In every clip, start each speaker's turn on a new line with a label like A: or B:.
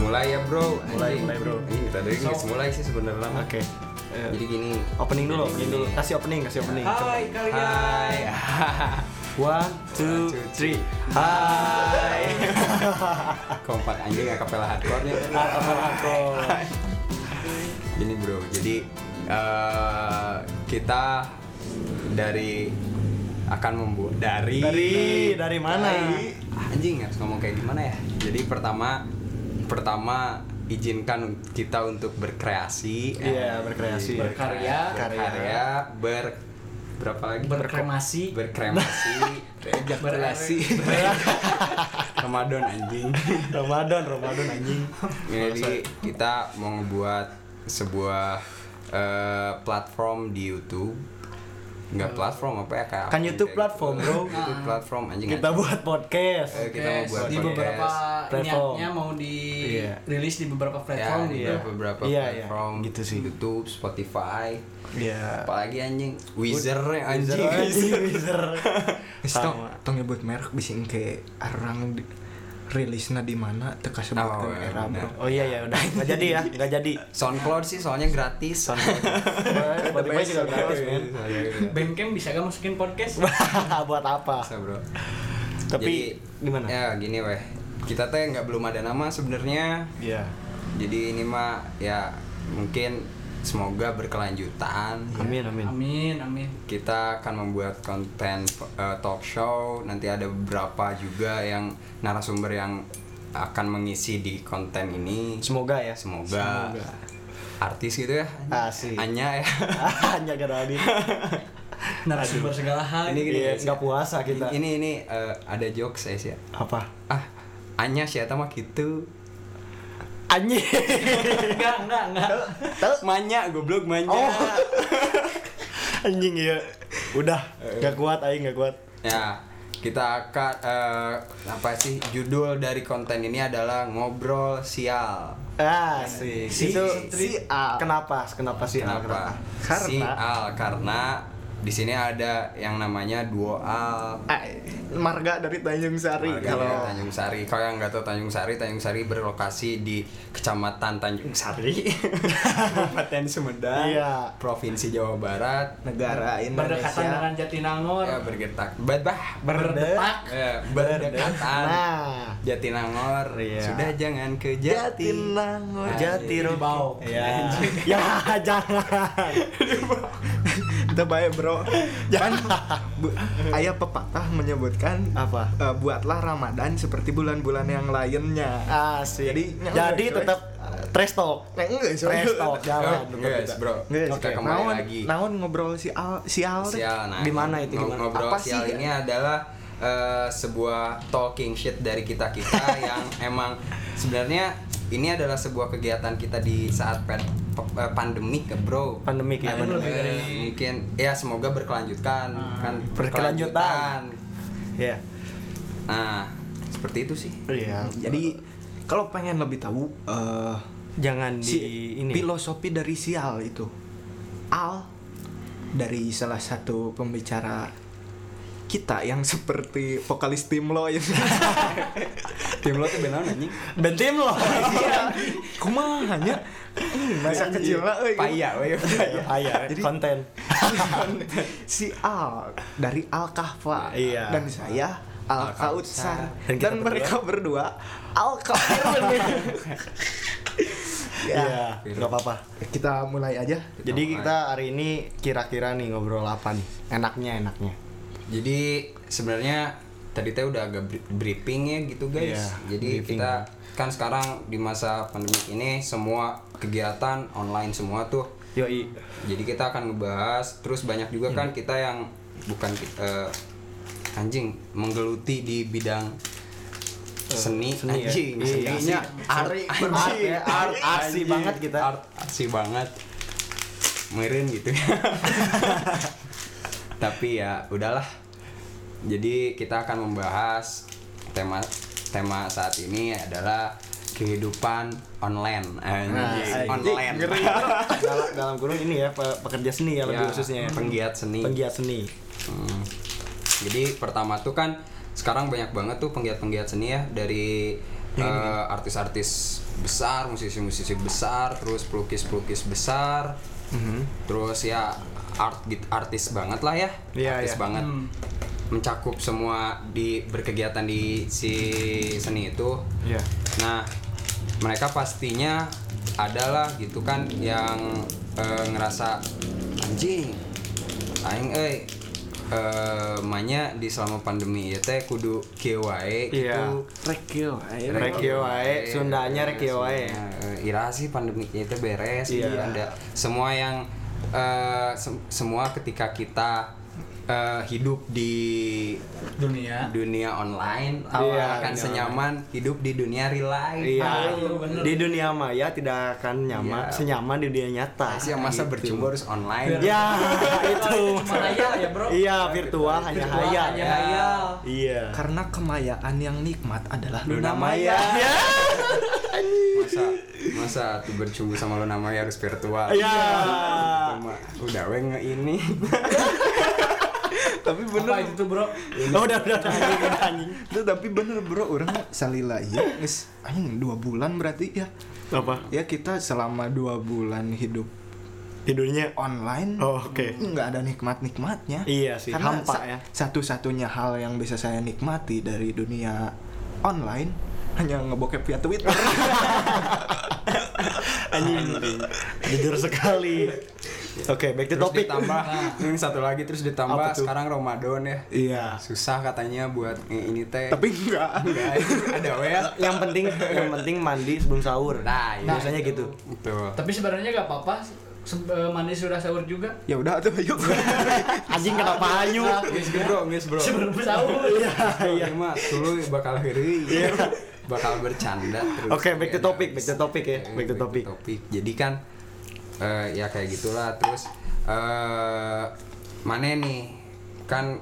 A: mulai. ya,
B: mulai, bro.
A: Ini tadi
B: So-
A: nggak mulai sih sebenarnya. Mak.
B: Oke. Eh,
A: Jadi gini.
B: Opening dulu, opening dulu. Kasih opening, kasih opening.
C: Hai
A: Hai.
C: kalian.
B: One, two,
A: two,
B: three.
A: Hai. Kompak anjing akapela hardcore-nya.
B: Ah, Hai.
A: Gini bro, jadi eh, kita dari akan membuat dari
B: Dari- dari mana?
A: dari- Ah, anjing harus ngomong kayak gimana ya? Jadi pertama pertama izinkan un- kita untuk berkreasi.
B: Iya, berkreasi.
C: Berkarya.
A: berkarya, ber berapa lagi?
C: Berkremasi.
A: berkremasi, ejakulasi. Ramadan anjing.
B: Ramadan, Ramadan anjing.
A: Jadi kita mau ngebuat sebuah eh, platform di YouTube. Enggak platform apa ya kayak
B: Kan YouTube
A: kayak
B: platform,
A: gitu.
B: bro.
A: YouTube platform anjing.
B: Kita
A: anjing.
B: buat podcast.
A: Eh, kita mau
C: Podcast.
A: buat
C: di beberapa
B: Platform.
C: niatnya mau
B: Iya.
C: dirilis di beberapa
A: platform
C: platform
A: ya, di
C: gitu.
A: beberapa
B: Iya, iya.
A: platform
B: Gitu sih.
A: YouTube, Spotify,
B: Iya.
A: apalagi anjing. Wizard anjing.
B: Wizard, Wizard.
D: Tong,
B: Sama.
D: tong nyebut merek bisa ke arang di- rilisnya di mana teka sebutkan
A: Oh,
D: era
A: benar.
D: bro.
B: Oh iya ya udah nggak jadi ya nggak jadi.
A: SoundCloud sih soalnya gratis.
B: Spotify juga gratis men.
A: Soalnya gratis.
C: Bandcamp bisa gak masukin podcast?
B: Buat apa?
A: Bisa, Bro.
B: Tapi
A: Jadi,
B: gimana? Iya.
A: Ya gini weh, kita teh nggak belum ada nama sebenarnya.
B: Iya.
A: Jadi ini mah ya mungkin semoga berkelanjutan.
B: Amin amin.
C: Amin, amin.
A: Kita akan membuat konten eh, talk show. Nanti ada beberapa juga yang narasumber yang akan mengisi di konten ini.
B: Semoga ya.
A: Semoga. Artis gitu ya.
B: Asik.
A: Anya ya.
B: Hanya Geraldine.
C: Narasumber segala hal.
A: Ini gini
B: Iya,
A: guys,
B: nggak
A: ya.
B: puasa kita.
A: Ini ini eh, ada jokes guys, ya.
B: Apa?
A: Ah, Anya sih eta mah gitu.
B: Anjing.
C: Enggak, enggak, enggak.
A: Manya goblok manya.
B: Oh. Anjing iya. Udah, nggak kuat aing nggak kuat.
A: Ya, kita akan eh, apa sih judul dari konten ini adalah ngobrol sial.
B: Ah, si,
A: Si-
B: itu
A: si-
B: A. Kenapa? Kenapa sih? A?
A: Kenapa?
B: Karena
A: Sial karena di sini ada yang namanya duo al.
D: Ah, marga dari Tanjung Sari
A: warga
D: kalau
A: Tanjung Sari. Kalau yang nggak tahu Tanjung Sari, Tanjung Sari berlokasi di Kecamatan Tanjung Sari, Kabupaten Sumedang,
B: Iya.
A: Provinsi Jawa Barat.
D: negara
C: Berdekatan
D: Indonesia
C: dengan Jatinangor.
A: Ya bergetak. Babah.
C: Berdetak.
A: Eh, berdekatan.
B: Nah.
A: Jatinangor.
B: Iya.
A: Sudah jangan ke Jatin.
D: Jatinangor
A: Nah,
D: Jati
C: Di bawah.
B: Ya.
D: Iya.
B: ya, jangan.
D: Itu baik bro Kan bu- Ayah pepatah menyebutkan
B: Apa?
D: eh, Buatlah Ramadan seperti bulan-bulan yang lainnya
B: Asik. Jadi,
D: Jadi, nggak,
B: tetap trash talk.
D: Nah, enggak so.
B: Trash talk ya.
A: Oh,
B: jangan.
A: guys, bro.
D: Nggak,
A: Kita
D: so.
A: kembali
D: Naon-
A: lagi.
D: Naon ngobrol si Al Si Al teh?
A: Sial, nah,
B: Di mana itu, di mana?
A: Ngobrol
D: Apa
A: sial
D: sih?
A: ini adalah eh, sebuah talking shit dari kita kita yang emang sebenarnya ini adalah sebuah kegiatan kita di saat pe- pe- eh, pandemik ya, bro.
B: Pandemik
A: Eh,
B: ya, pandemik.
A: mungkin ya semoga berkelanjutan kan
B: Berkelanjutan. Iya.
A: Nah, seperti itu sih.
B: Iya.
D: Jadi kalau pengen lebih tahu eh,
B: Jangan
D: si
B: di ini.
D: filosofi dari sial itu al dari salah satu pembicara kita yang seperti vokalis tim lo ya
A: Tim lo tuh benar anjing.
B: Dan tim lo.
D: kumaha nya masa kecil lah euy.
A: Paya, we.
B: Ayah,
D: Jadi-
B: Iya, konten.
D: si al dari al kahfa
B: Iya.
D: dan saya al kautsar dan,
B: Dan kita berdua-
D: mereka berdua al kafir ya
B: Iya, nggak apa-apa.
D: kita mulai aja
B: Jadi kita hari ini kira-kira nih ngobrol apa nih? Enaknya, enaknya.
A: Jadi sebenarnya tadi teh udah agak bri- briefing ya gitu guys.
B: Iya,
A: Jadi
B: briefing.
A: kita kan sekarang di masa pandemik ini semua kegiatan online semua tuh.
B: Yoi.
A: Jadi kita akan ngebahas terus banyak juga kan
B: Iya.
A: kita yang bukan ki- eh, anjing menggeluti di bidang seni,
B: seni ya.
A: anjing
B: Iya,
A: seninya art anjing
B: Art, ya, art, artsy
A: anjing.
B: banget kita.
A: art artsy banget mirin gitu tapi ya udahlah jadi kita akan membahas tema tema saat ini adalah kehidupan online anjing
B: Nah, anjing.
A: online Iya,
B: dalam, dalam kurung ini ya pe- pekerja seni
D: Iya.
B: ya, lebih
A: Ya,
B: khususnya ya.
A: penggiat seni
B: penggiat seni
A: Hmm. Jadi pertama tuh kan sekarang banyak banget tuh penggiat-penggiat seni ya dari eh, artis-artis besar, musisi-musisi besar, terus pelukis-pelukis besar,
D: Mhm.
A: terus ya art artis banget lah ya,
D: Iya,
A: artis
D: iya.
A: banget
C: Hmm.
A: mencakup semua di berkegiatan di si seni itu
D: Iya.
A: Nah, mereka pastinya adalah gitu kan yang eh, ngerasa anjing, aing eh eh, manya di selama pandemi ya teh kudu kiwai
D: Iya.
A: gitu.
B: Rekio, ayo.
A: Rek
B: Rekio.
A: kieu
D: kieu wae, Sundanya rek kieu wae.
A: Sundanya, eh, Ira sih pandemi itu beres gitu
D: Iya.
A: kan. Da- Semua yang eh, sem- semua ketika kita eh, hidup di
C: dunia
A: dunia online
D: Iya,
A: akan
D: dunia
A: senyaman hidup di dunia real life.
C: Ah,
D: Iya.
C: iya, bener.
D: Di dunia maya tidak akan nyaman
A: Iya.
D: senyaman di dunia nyata. Gitu.
A: Pasti yang masa berjumpa harus online.
C: Biar-
D: Ya, itu.
C: Kalau cuma hayal ya bro
D: Iya, virtual hanya
C: Virtual
D: hayal.
C: hanya hayal.
D: Iya.
B: Karena kemayaan yang nikmat adalah
D: Dunia
B: dunia
D: maya. Ya.
A: Masa masa tuh bercumbu sama lo namanya harus virtual.
D: Iya.
A: Cuma, udah weng ini.
D: Tapi
C: apa itu tuh bro
D: Oh, udah udah udah, anjing, udah, anjing.
B: Itu tapi bener bro, orang salila iya Guys, anjing dua bulan berarti ya
D: Apa?
B: Ya kita selama dua bulan hidup
D: Tidurnya
B: online mm,
D: Oh, oke.
B: nggak ada nikmat-nikmatnya
D: Iya sih,
B: Karena
D: hampa
B: sa-
D: ya.
B: satu-satunya hal yang bisa saya nikmati dari dunia online hanya ngebokep via Twitter Iya.
D: anjing. Jujur sekali. Oke, back to
A: Terus
D: topik. Nah.
A: ditambah yang satu lagi terus ditambah
D: Apa tuh?
A: sekarang Ramadan ya.
D: Iya.
A: Susah katanya buat nge- ini teh.
B: tapi enggak
A: Enggak, ada we.
D: Yang penting yang penting mandi sebelum sahur.
A: Nah, iya.
D: biasanya gitu.
A: Betul.
C: tapi sebenarnya gak apa-apa se- eh, mandi sudah sahur juga
B: ya udah tuh yuk
D: Iya. Anjing kenapa hanyut?
A: Nges bro, nges bro.
C: sebelum sahur
D: Iya,
A: Iya
D: iya.
A: mah, dulu bakal heri. bakal bercanda terus. Iya,
D: Oke, back to
A: Kayak
D: topic,
A: ada-
D: back to topic ya, back to topic.
A: Jadi kan eh, ya kayak gitulah terus eh mana nih kan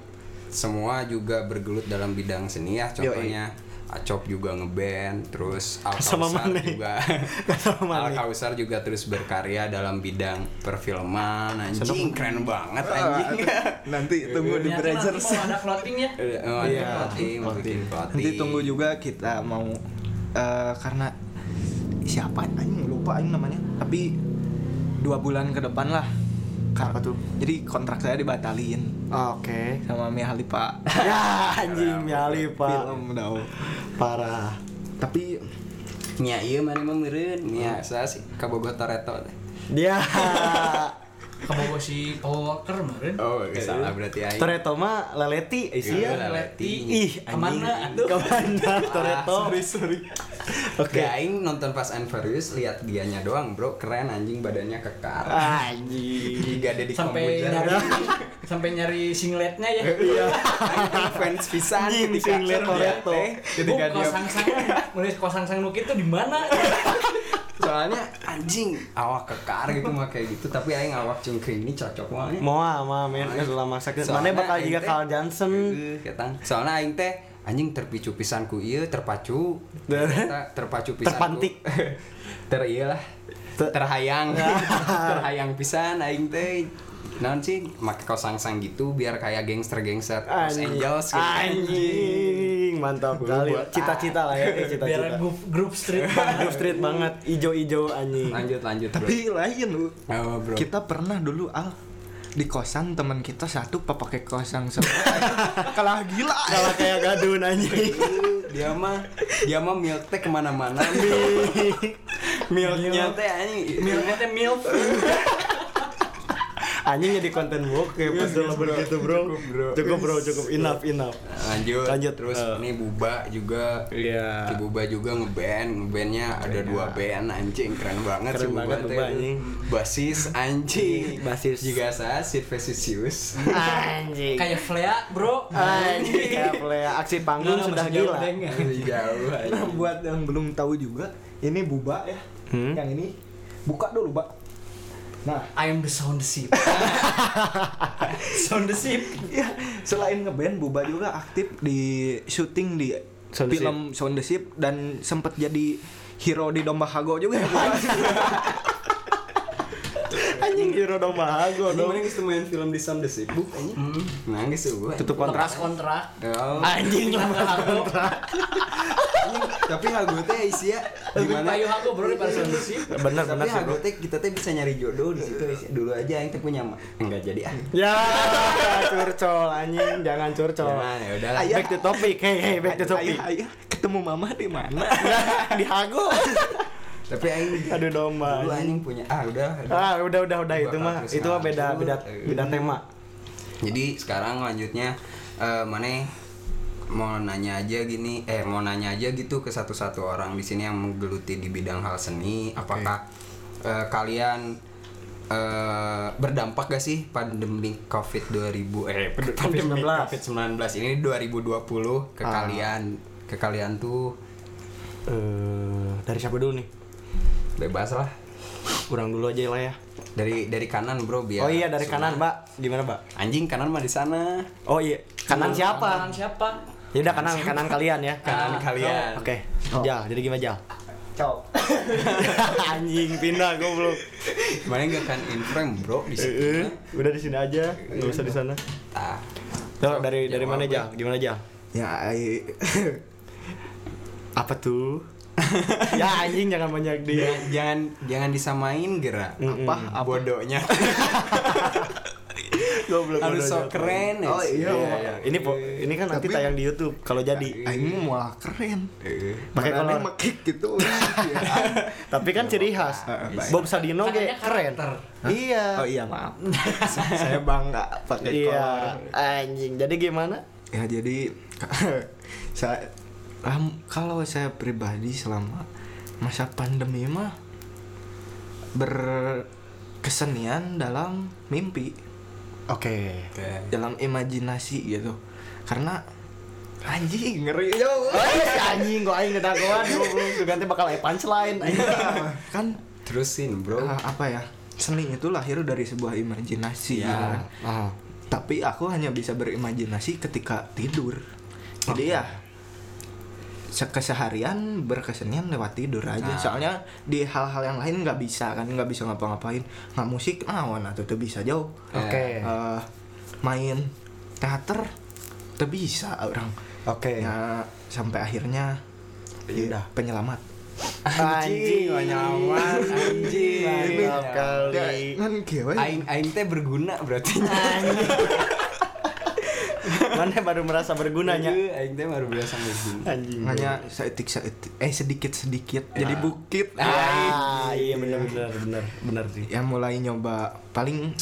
A: semua juga bergelut dalam bidang seni ya contohnya Acop juga ngeband, terus Al
D: Sama
A: Kausar
D: Mane.
A: juga
D: Sama Mane.
A: Al Kausar juga terus berkarya dalam bidang perfilman anjing
D: Seneng. Ah,
A: keren banget anjing.
B: nanti tunggu di
C: Ternyata nanti
B: Brazers
C: mau ada clothing ya
A: Eh, oh,
D: Iya.
A: ada pelatih, mau bikin
B: nanti
A: pelatih.
B: tunggu juga kita mau eh, karena siapa anjing lupa anjing namanya tapi dua bulan ke depan lah
D: Apa tuh?
B: jadi kontrak saya dibatalin
D: Oke.
B: sama Mia Halifa
D: Ya anjing nyali pak
B: film dong
D: parah.
B: tapi
A: Nya iya mana mah meureun, nya saya Oh, sih ka Bogor Toreto teh.
D: Dia
C: kebawa si Paul Walker kemarin
A: Oh, salah berarti aing.
D: Toreto mah leleti eh, sih ya.
A: Iya, leleti.
D: Ih,
C: Kemana,
D: anjing.
C: atuh?
D: Kemana Toreto?
A: Ah, Oke,
D: Oke.
A: aing nonton Fast and Furious lihat dianya doang, Bro. Keren anjing badannya kekar.
D: Anjing.
A: Gak ada di
C: sampai
A: Kamboja.
C: nyari sampai nyari singletnya ya
A: Iya. Aing fans pisan
D: Anjing,
A: ketika dia
D: singlet Toretto.
A: teh, Ketika
C: Bu,
A: dia
C: kosang sang mulai kosang sang nukit tuh di mana
A: soalnya anjing awak kekar gitu mah kayak gitu, tapi aing awak cengkring ini cocok banget.
D: Moa, moa men, selama sakit. Mana bakal
A: aing
D: juga
A: teh-
D: Carl Johnson.
A: Heeh, ketang. Soalnya aing teh anjing terpicu pisanku iya terpacu. Ternyata terpacu pisanku.
D: Terpantik.
A: Ter iyalah. Terhayang. Terhayang pisan aing teh. Naon sih make kosang-sang gitu biar kayak gangster-gangster Los Angeles gitu.
D: Anjing, mantap kali.
A: Buat-
D: Cita-cita lah ya, eh,
C: biar
D: cita-cita.
C: grup grup street banget.
D: Grup street banget, ijo-ijo anjing.
A: Lanjut lanjut bro.
B: tapi lain lu
A: Oh, bro.
B: kita pernah dulu al di kosan teman kita satu pakai kosan semua kalah gila
D: Kalau kayak gadun anjing.
A: dia mah dia mah milk teh kemana-mana
D: Milknya
A: milk teh anjing
C: Milknya teh milk
D: anjing jadi konten bokep pas
A: yes, Iya, bro.
D: lebar gitu bro.
A: Cukup, bro. Iya.
D: Cukup bro, cukup enough enough.
A: lanjut
D: Lanjut,
A: terus
D: eh.
A: ini buba juga
D: Iya.
A: Si Buba juga ngeband, ngebandnya ada dua band anjing keren banget
D: Keren
A: si Buba
D: banget
A: teh.
D: Buba, anjing.
A: Basis anjing.
D: Basis.
A: juga saya Sid Vecisius.
D: Anjing.
C: kayak flea bro
D: Anjing kayak play aksi panggung
C: Enggak,
D: sudah
C: masih jauh,
D: gila.
C: Deng.
A: Jauh
B: Nah,
A: anjing.
B: buat yang belum tahu juga ini buba ya
D: Hmm.
B: yang ini buka dulu bak nah
C: I am the sound sheep sound the sheep
B: ya selain ngeband buba juga aktif di syuting di
D: Sound the
B: film Sound the Ship dan sempat jadi hero di domba hago juga ya Buba?
D: Anjing hero dong bahago
A: Anjing
D: dong.
A: mana geus teu main film di Sound the Sibuk anjing. Nangis tuh gua.
D: Tutup
C: lepas
D: kontrak.
C: kontrak
A: Oh,
D: Anjing lepas kontrak.
A: Anjing, tapi lagu teh isi ya
C: Lebih
A: gimana
C: payu aku bro daripada sound musik.
D: bener
A: tapi
D: bener sih
A: lagu
D: bro
A: teh kita teh bisa nyari jodoh di situ Is. dulu aja yang teh punya ma- enggak jadi ah
D: ya curcol anjing jangan curcol
A: Jangan, ya udahlah
D: back to topic hey hey back to topic
B: Ayah, ayah, Iya, ketemu mama di mana?
D: di hago
A: tapi aing
D: aduh domba
A: dulu anjing punya ah udah
D: ah udah udah udah itu
A: Bakal
D: mah
A: terus
D: itu mah beda
A: ngacur.
D: beda beda tema
A: Jadi sekarang lanjutnya eh Mane mau nanya aja gini, eh mau nanya aja gitu ke satu-satu orang di sini yang menggeluti di bidang hal seni, apakah eh, kalian eh, berdampak gak sih pandemi Covid 2000 eh ped- pandemi
D: 19.
A: Covid 19 ini 2020 ke
D: Ah.
A: kalian ke kalian tuh
D: eh dari siapa dulu nih
A: bebas lah
D: kurang dulu aja lah ya
A: dari dari kanan bro biar
D: oh iya dari kanan mbak gimana mbak
A: anjing kanan mah di sana
D: oh iya kanan siapa
C: Kanan siapa?
D: ya udah kanan kanan kalian ya
A: kanan kalian
D: oh, oke jal jadi gimana jal anjing pindah goblok
A: Mana nggak kan in frame bro di situ.
D: Eh, eh, udah di sini aja nggak usah di sana
A: Ah.
D: Tuh, dari dari
A: Jawab,
D: mana
A: Bang.
D: jal gimana jal
B: ya, ay-
D: apa tuh ya anjing jangan banyak di
A: Jangan, jangan jangan disamain gerak.
B: apa? apa?
A: Bodohnya
D: goblok
A: harus sok
D: bodoh, Jal.
A: keren. ya.
B: Oh, iya.
D: Iya, iya. ini po- ini kan nanti
B: Tapi- Ya,
D: tayang di YouTube kalau jadi
B: Aing malah keren.
A: Eh,
D: Hmm, pakai
B: Badannya
D: kolor
B: mekik gitu.
D: tapi kan ciri khas Bob Sadino ge
C: Katanya
D: keren
C: karakter.
D: iya
B: oh iya maaf. Saya bangga pakai kolor.
D: iya anjing jadi gimana
B: ya jadi saya am- kalau saya pribadi selama masa pandemi mah berkesenian dalam mimpi
D: oke
A: oke.
B: dalam imajinasi gitu karena anjing ngeri yo
D: Eh, anjing gua aing kedagoan goblok tuh ganti bakal aya punchline anjing
B: kan
A: Terusin bro.
B: eh, apa ya seni itu lahir dari sebuah
A: Ya.
B: imajinasi gitu kan.
D: ah
B: tapi aku hanya bisa berimajinasi ketika tidur jadi ya se- keseharian berkesenian lewat tidur aja
A: Nah.
B: soalnya di hal-hal yang lain nggak bisa kan nggak bisa ngapa-ngapain nggak musik awan atau tuh bisa jauh
D: oke
B: Eh, main teater tuh bisa orang
D: oke
B: ya sampai akhirnya ya,
D: Udah.
B: penyelamat
D: anjing
A: nyaman anjing.
D: mantap kali
B: Ya, kan kieu we.
A: Aing aing teh berguna berarti.
D: mana baru merasa bergunanya
A: Eh, Aing teh baru biasa berguna.
D: anjing
B: hanya seetik seetik eh sedikit sedikit jadi bukit
D: ah iya benar benar benar benar sih
B: ya mulai nyoba paling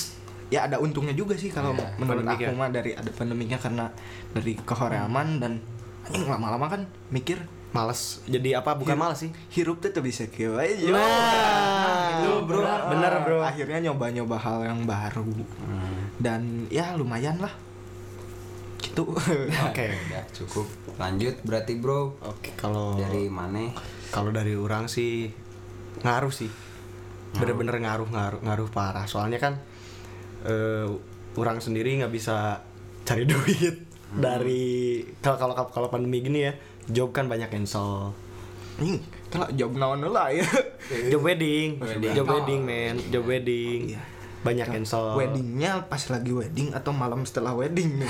B: ya ada untungnya juga sih kalau
A: Iya,
B: menurut
D: pandemik
B: aku
D: ya.
B: mah dari ada pandeminya karena dari kehoreaman dan anjing lama-lama kan mikir
D: males jadi apa bukan males sih
B: hirup tuh tuh bisa kieu aja. gitu,
D: Nah,
A: itu bro.
D: bener bro. Hmm.
B: akhirnya nyoba-nyoba hal yang baru dan ya lumayan lah gitu
D: Oke.
A: Udah cukup. Lanjut berarti bro.
D: Oke, kalau
A: Dari mana?
D: kalau dari orang sih ngaruh sih. Bener-bener ngaruh ngaruh ngaruh parah. Soalnya kan eh orang sendiri nggak bisa cari duit dari kalau kalau kalau pandemi gini ya, job kan banyak cancel.
B: anjing telah job naon lah ya
D: Job wedding,
A: Wedding.
D: job wedding men, job wedding.
B: Iya.
D: Banyak cancel.
B: weddingnya pas lagi wedding atau malam setelah wedding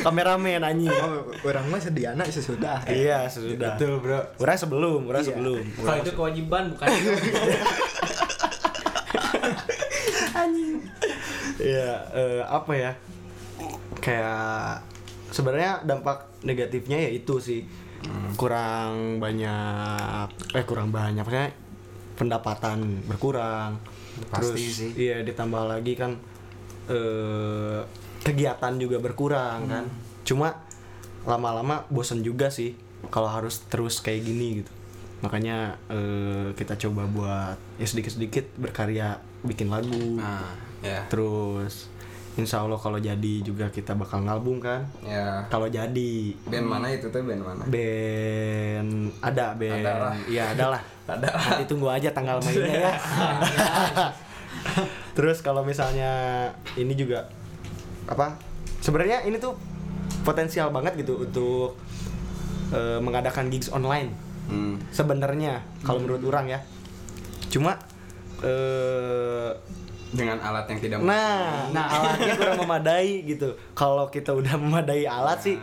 D: Kameramen anjing.
B: oh, orang mah sediana sesudah
D: Iya, sudah.
A: Betul bro.
D: Orang sebelum, orang
B: Eh. Iya.
D: sebelum.
C: Kalau itu kewajiban bukan.
D: Iya, eh, apa ya? Kayak sebenarnya dampak negatifnya ya itu sih kurang banyak eh kurang banyak maksudnya pendapatan berkurang
A: Pasti
D: terus
A: sih.
D: iya ditambah lagi kan eh kegiatan juga berkurang kan
A: Hmm.
D: cuma lama-lama bosen juga sih kalau harus terus kayak gini gitu makanya eh, kita coba buat ya sedikit-sedikit berkarya bikin lagu
A: Nah, ya.
D: Terus Insya Allah kalau jadi juga kita bakal ngalbum kan
A: Ya.
D: Kalau jadi
A: Band mana itu teh band mana?
D: Band Ada band
A: Ada lah.
D: Iya ada lah Nanti tunggu aja tanggal mainnya ya Terus kalau misalnya Ini juga Apa Sebenarnya ini tuh Potensial banget gitu untuk eh, Mengadakan gigs online
A: Hmm.
D: Sebenarnya Kalau menurut orang ya Cuma eh
A: Dengan alat yang tidak
D: Nah, nah alatnya kurang memadai gitu. Kalau kita udah memadai alat sih,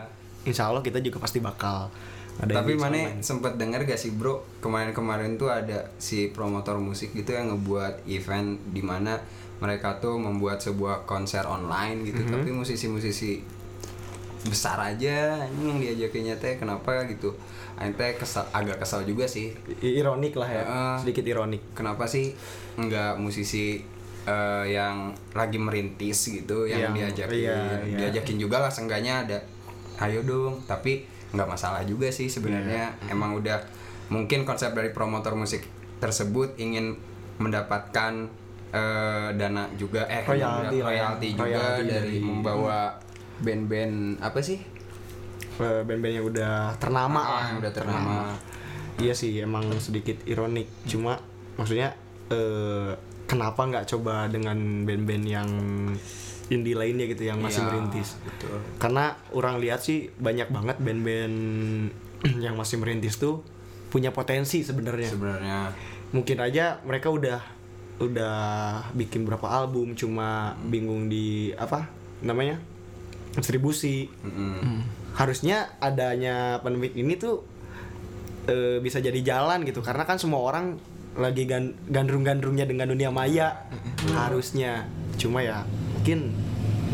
D: insya Allah kita juga pasti bakal Ada
A: Nah.
D: yang
A: Tapi
D: bisa
A: mana
D: main.
A: sempet denger gak sih bro kemarin-kemarin tuh ada si promotor musik gitu yang ngebuat event di mana mereka tuh membuat sebuah konser online gitu.
D: Mhm.
A: Tapi musisi-musisi besar aja ini yang diajakinnya teh kenapa gitu. Aing teh kesel- agak kesal juga sih
D: I- ironik lah ya
A: Heeh.
D: sedikit ironik
A: kenapa sih nggak musisi eh, yang lagi merintis gitu yang
D: Yang-
A: diajakin
D: iya, iya.
A: diajakin juga lah seenggaknya ada ayo dong tapi nggak masalah juga sih sebenarnya
D: Iya.
A: emang udah mungkin konsep dari promotor musik tersebut ingin mendapatkan eh, dana juga eh
D: Royalti lah ya.
A: royalti juga
D: Royalti
A: dari,
D: dari- Iya.
A: membawa band-band apa sih
D: Eh, band-band yang udah ternama
A: Ah,
D: lah.
A: yang udah ternama.
D: iya sih emang sedikit ironik cuma maksudnya eh, kenapa nggak coba dengan band-band yang indie lainnya gitu yang masih
A: Iya,
D: merintis
A: betul.
D: karena orang lihat sih banyak banget band-band yang masih merintis tuh punya potensi sebenarnya
A: sebenarnya
D: mungkin aja mereka udah udah bikin berapa album cuma
A: Hmm.
D: bingung di apa namanya distribusi
A: Mm-mm.
D: harusnya adanya pandemi ini tuh eh, bisa jadi jalan gitu karena kan semua orang lagi gan- gandrung-gandrungnya dengan dunia maya harusnya cuma ya mungkin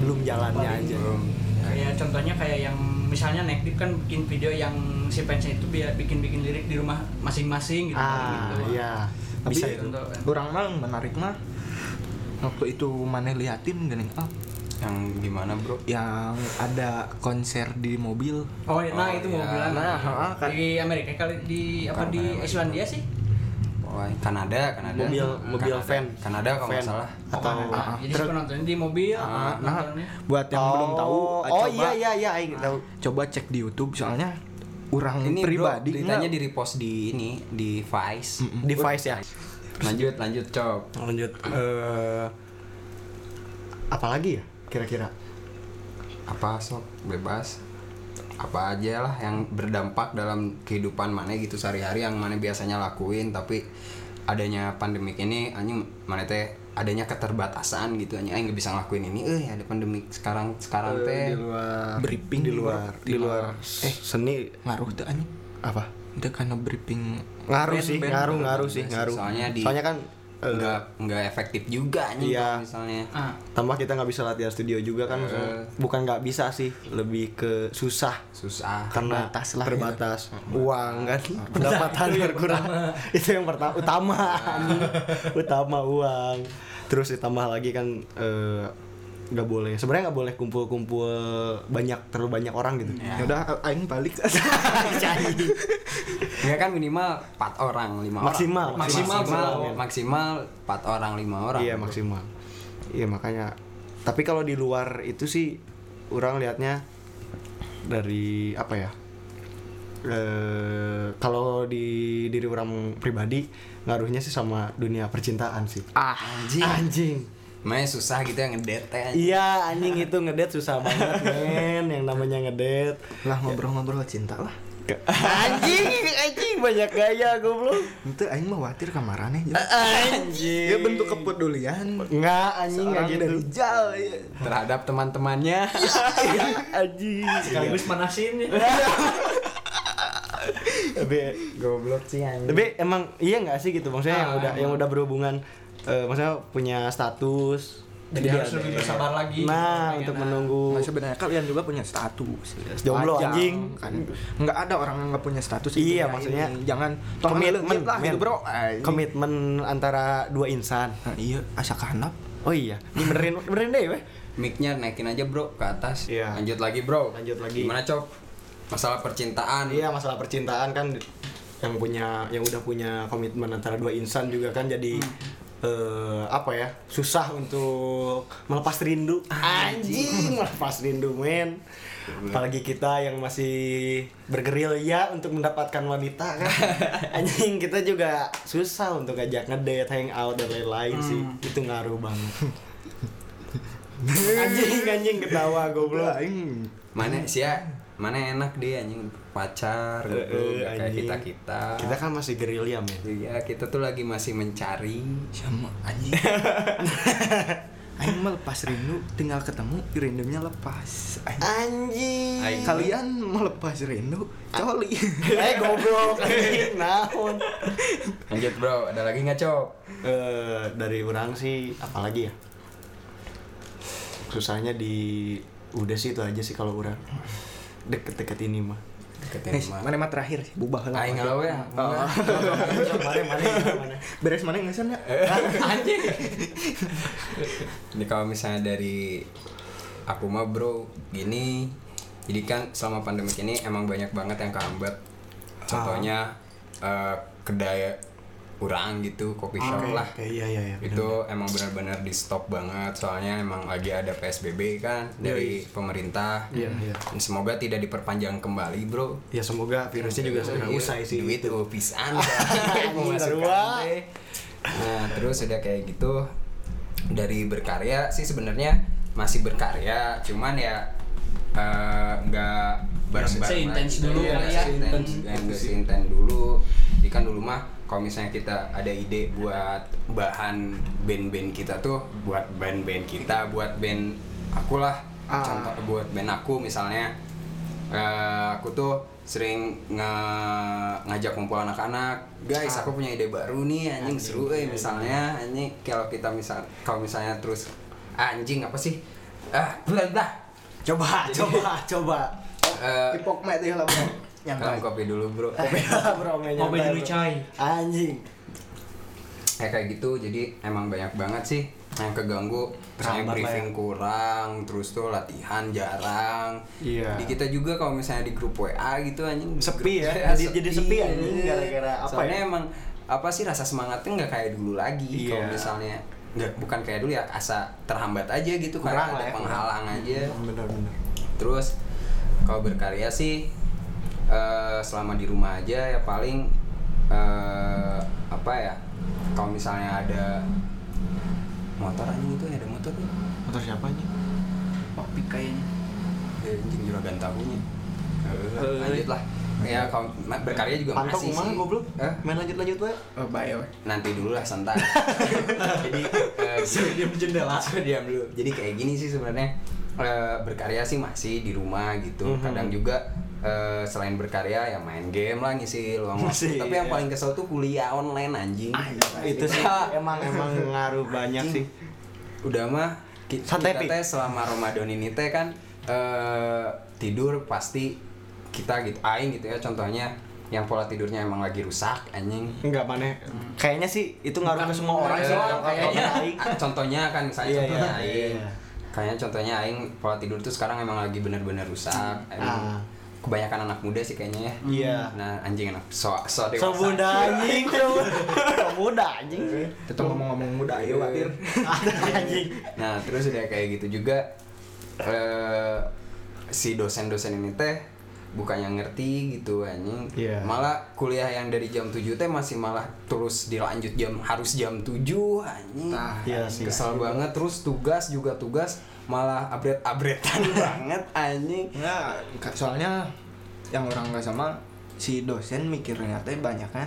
D: belum jalannya aja
A: belum
C: kayak contohnya kayak yang misalnya Nekdip kan bikin video yang si fansnya itu biar bikin-bikin lirik di rumah masing-masing gitu
D: ah
C: gitu.
D: iya
C: Tapi
D: bisa itu
C: contoh kan.
B: Kurang mah yang menarik mah waktu itu mana liatin gini ah,
A: yang gimana bro
B: yang ada konser di mobil
C: Oh, nah
A: Oh,
C: itu
A: iya.
C: mau bilang
B: Nah, ha, kan.
C: di Amerika kali di apa
A: Bukan
C: di
A: Amerika.
C: Islandia sih?
A: Wah, Kanada, Kanada.
D: mobil mobil
A: Kanada.
D: van
A: kan Kanada kalau nggak
D: Van.
A: salah.
D: atau
C: Nah, jadi si penontonnya di mobil, nontonnya.
B: buat yang belum tahu
D: oh,
B: ah,
D: oh
B: coba
D: iya iya iya aing tahu
B: coba cek di YouTube soalnya
D: Hmm,
B: orang
A: Ini pribadi
B: pribadi
A: ditanya
B: enggak.
A: di repost di ini di Vice.
D: device ya
A: Lanjut, lanjut, Cok.
D: lanjut eh apalagi ya kira-kira
A: Apa sok? Bebas. Apa aja lah yang berdampak dalam kehidupan mana gitu sehari-hari yang mana biasanya lakuin tapi adanya pandemik ini anjing mana teh adanya keterbatasan gitu anjing aing nggak bisa ngelakuin ini eh ada pandemik sekarang sekarang teh
D: di luar
B: briefing
D: di luar di luar eh seni
B: ngaruh tuh anjing
D: apa
B: udah karena briefing
D: ngaruh
B: Band-
D: sih
B: band-
D: ngaruh
B: band-
D: ngaruh sih ngaruh
A: Soalnya di-
D: kan eh,
A: nggak nggak efektif juga anjing
D: Iya.
A: kalau misalnya
C: Ah,
D: tambah kita nggak bisa latihan studio juga kan maksudnya. bukan nggak bisa sih lebih ke susah
A: susah
D: karena
B: Terbatas lah,
D: terbatas uang kan pendapatan berkurang itu yang pertama utama anjing. utama uang terus ditambah lagi kan eh, nggak boleh sebenarnya nggak boleh kumpul-kumpul banyak terlalu banyak orang gitu
B: ya udah aing balik
A: Enggak kan minimal 4 orang, 5 orang.
D: Maksimal,
A: maksimal
D: maksimal,
A: maksimal,
D: maksimal.
A: maksimal 4 orang, 5 orang.
D: Iya maksimal. Iya makanya. Tapi kalau di luar itu sih orang lihatnya dari apa ya? Eh, kalau di diri orang pribadi ngaruhnya sih sama dunia percintaan sih.
A: Ah, anjing.
D: Anjing.
A: Makanya susah gitu ya ngedate anjing.
D: Iya anjing itu ngedate susah banget men yang namanya ngedate.
B: lah ngobrol-ngobrol cinta lah
D: Ke- Anjing, anjing banyak gaya goblok.
B: itu aing mah khawatir kamarannya
D: Anjing.
B: ya bentuk kepedulian
D: Enggak anjing enggak
B: orang
D: gitu.
B: dari jal ya.
A: Terhadap teman-temannya.
D: iya. Anjing.
C: sekaligus manasin ya.
D: Tapi
A: Goblok sih anjing.
D: tapi emang iya nggak sih gitu maksudnya
C: Ah,
D: yang udah yang udah berhubungan eh, maksudnya punya status Iya.
C: Jadi harus lebih bersabar lagi.
D: nah
C: Pengen,
D: untuk
C: ah.
D: menunggu
B: Nah, sebenaranya kalian juga punya status.
D: Oh. Jomblo,
B: Wajar,
D: anjing.
B: Kan. Nggak ada orang yang nggak punya status. di
D: Iya,
B: dunia
D: maksudnya
B: ini. jangan tolong
D: komitmen
B: leungit lah
D: men.
B: gitu, bro. Anjing.
D: komitmen antara dua insan
B: Nah, iya, asa kahanap.
D: oh iya ini benerin benerin deh weh
A: Mic-nya naikin aja, Bro, ke atas.
D: Iya.
A: Lanjut lagi, Bro.
D: Lanjut lagi.
A: Gimana, Cok? Masalah percintaan.
D: iya masalah percintaan kan yang punya yang udah punya komitmen antara dua insan juga kan jadi eh, apa ya susah untuk melepas rindu anjing melepas rindu men apalagi kita yang masih bergerilya untuk mendapatkan wanita kan anjing kita juga susah untuk ngajak ngedate hangout dan lain-lain sih itu ngaruh banget anjing anjing ketawa goblok
B: Aing
A: Mana sih ya? Mana enak dia anjing pacar
D: Eh, eh,
A: gitu, nggak kayak
D: anjing.
A: kita-kita.
D: kita kan masih gerilya men
A: Iya, kita tuh lagi masih mencari
B: sama anjing. Aing melepas rindu tinggal ketemu rindunya lepas Aing.
D: Anjing.
A: Aing.
B: kalian melepas rindu coli
D: Eh goblok. anjing, Naon?
A: lanjut bro ada lagi nggak cok
D: Eh dari orang sih apalagi ya? Susahnya di udah sih itu aja sih kalau orang deket-deket ini mah.
A: deketin
B: Guys, mana mah terakhir sih bubah lah
A: aing galau ya
B: Oh.
D: Mana mana mana.
B: beres mana ya? nggak sana
D: Eh.
A: anjing jadi kalau misalnya dari aku mah bro gini jadi kan selama pandemik ini emang banyak banget yang kehambat contohnya eh, kedai kurang gitu kopi shop lah
D: Oke, iya iya iya.
A: itu emang benar-benar di stop banget soalnya emang lagi ada PSBB kan dari pemerintah
D: Iya, iya.
A: Dan semoga tidak diperpanjang kembali bro
D: Ya semoga virusnya juga segera
A: Iya,
D: usai sih.
A: duit tuh pisan
D: Bener,
A: memasukkan
D: Wak.
A: teh. nah terus udah kayak gitu dari berkarya sih sebenarnya masih berkarya cuman ya eh, nggak bareng-bareng
C: seintens
A: lagi.
C: dulu
A: Iya,
C: kali ya.
A: seintens,
C: Seintens.
A: nggak seintens dulu jadi kan dulu mah kalau misalnya kita ada ide buat bahan band-band kita tuh buat band-band kita buat band akulah
B: Ah.
A: contoh buat band aku misalnya eh, aku tuh sering nge- ngajak kumpul anak-anak guys aku punya ide baru nih anjing seru eh misalnya anjing kalau kita misal kalau misalnya terus "Ah, anjing apa sih ah blah blah
B: coba
D: Iya.
B: coba coba
A: Eh,
B: hipokmet ya lah bro
A: Kalem kopi dulu bro
D: Bro, nggak nyantai,
C: Mau beli dulu
D: bro.
C: coy.
D: Anjing.
A: ya kayak gitu jadi emang banyak banget sih yang keganggu misalnya
D: Terhambat lah ya.
A: briefing kurang terus tuh latihan jarang
D: Iya.
A: di kita juga kalau misalnya di grup WA gitu anjing di
D: Sepi
A: grup
D: ya,
A: WA
D: jadi- jadi sepi anjing gara-gara apa
A: soalnya
D: ya?
A: emang apa sih rasa semangatnya nggak kayak dulu lagi kalau
D: Iya.
A: misalnya nggak bukan kayak dulu ya asa terhambat aja gitu kayak
D: Kurang lah
A: ada
D: ya,
A: penghalang aja
D: Bener bener.
A: Terus kalau berkarya sih eh, selama di rumah aja ya paling eh, apa ya? Kalau misalnya ada motor aja gitu ya ada motor tuh.
D: Motor siapa anjing?
C: Kopi kayaknya.
A: Ya, anjing juragan tahunya. Eh, lanjut lah. Ya kalau ma- berkarya juga
D: Pantau
A: masih
D: kumaha
A: sih.
D: goblok?
A: Eh,
D: Main lanjut lanjut wae.
B: oh, bye bye.
A: nanti dulu lah santai. Jadi eh,
D: Diam jendela.
A: Langsung diam dulu. Jadi kayak gini sih sebenarnya Eh, berkarya sih masih di rumah gitu.
D: Mhm.
A: Kadang juga eh, selain berkarya ya main game lah ngisi luang waktu.
D: Masih,
A: Tapi yang
D: iya. Ah,
A: paling kesel tuh kuliah online anjing.
D: Itu sih emang emang ngaruh banyak sih.
A: Udah mah ki- kita,
D: Santai, Pi.
A: teh selama Ramadan ini teh kan eh, tidur pasti kita gitu aing gitu ya contohnya yang pola tidurnya emang lagi rusak anjing.
D: Enggak maneh. Kayaknya sih itu ngaruh ke semua orang
A: Eh,
D: sih.
A: kalau-
D: Kayaknya.
A: Ah, contohnya kan misalnya
D: Iya,
A: contohnya
D: iya,
A: aing
D: iya.
A: kayaknya contohnya aing pola tidur tuh sekarang emang lagi benar-benar rusak Emang
D: Ah.
A: kebanyakan anak muda sih kayaknya ya
D: Iya.
A: nah anjing anak so so dewasa
D: Semuda anjing, Eh. semuda anjing.
B: tetap ngomong-ngomong muda ya Watir
D: anjing.
A: nah terus udah kayak gitu juga eh, si dosen-dosen ini teh bukannya ngerti gitu anjing
D: Iya.
A: malah kuliah yang dari jam 7 teh masih malah terus dilanjut jam harus jam 7 anjing
D: Iya sih.
A: kesel banget terus tugas juga tugas malah abret-abretan banget anjing
B: Nah, soalnya yang orang nggak sama si dosen mikirnya teh banyaknya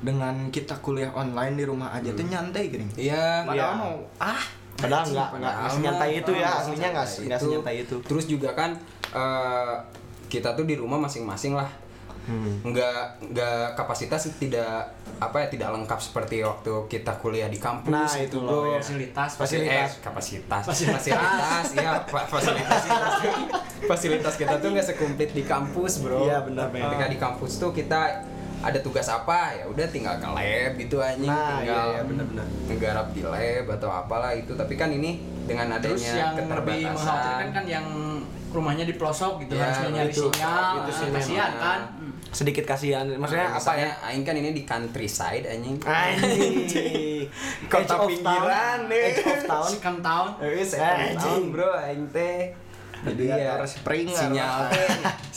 B: dengan kita kuliah online di rumah aja tuh nyantai gini.
A: Hmm. Iya,
B: Padahal
D: Iya.
B: mau ah
D: Padahal enggak enggak
A: Padahal
D: senyantai
A: mah,
D: itu ya,
A: ah,
D: aslinya enggak
A: senyantai
D: enggak senyantai itu.
A: Terus juga kan eh, kita tuh di rumah masing-masing lah.
D: Hmm.
A: Nggak nggak kapasitas tidak apa ya tidak lengkap seperti waktu kita kuliah di kampus.
D: Nah,
A: gitu,
D: itu loh,
A: Bro.
D: ya.
C: Fasilitas,
A: fasilitas Eh,
D: Fasilitas.
A: kapasitas fasilitas iya fa- fasilitas fasilitas kita tuh nggak sekumplit di kampus bro
D: Iya, benar, benar.
A: ketika di kampus tuh kita ada tugas apa ya udah tinggal ke lab gitu anjing
D: Nah, iya,
A: tinggal
D: iya, benar-benar.
A: ngegarap di lab atau apalah itu tapi kan ini dengan adanya
C: Terus yang lebih
A: keterbatasan
C: mengkhawatirkan kan yang rumahnya di pelosok gitu
A: Ya,
C: harus nyari
A: itu.
C: sinyal,
A: Itu sih
C: kasihan
A: memang.
C: kan.
D: Sedikit kasihan, maksudnya
A: Nah,
D: apa
A: misalnya
D: ya?
A: aing kan ini di countryside anjing
D: Anjing.
A: Kota
D: Edge of
A: pinggiran,
D: town.
A: eh.
D: Edge of town.
C: Second town.
A: Eh,
D: Anjing.
A: tahun bro aing teh. ya,
B: Jadi harus peringat,
A: sinyal
B: Mas.
A: teh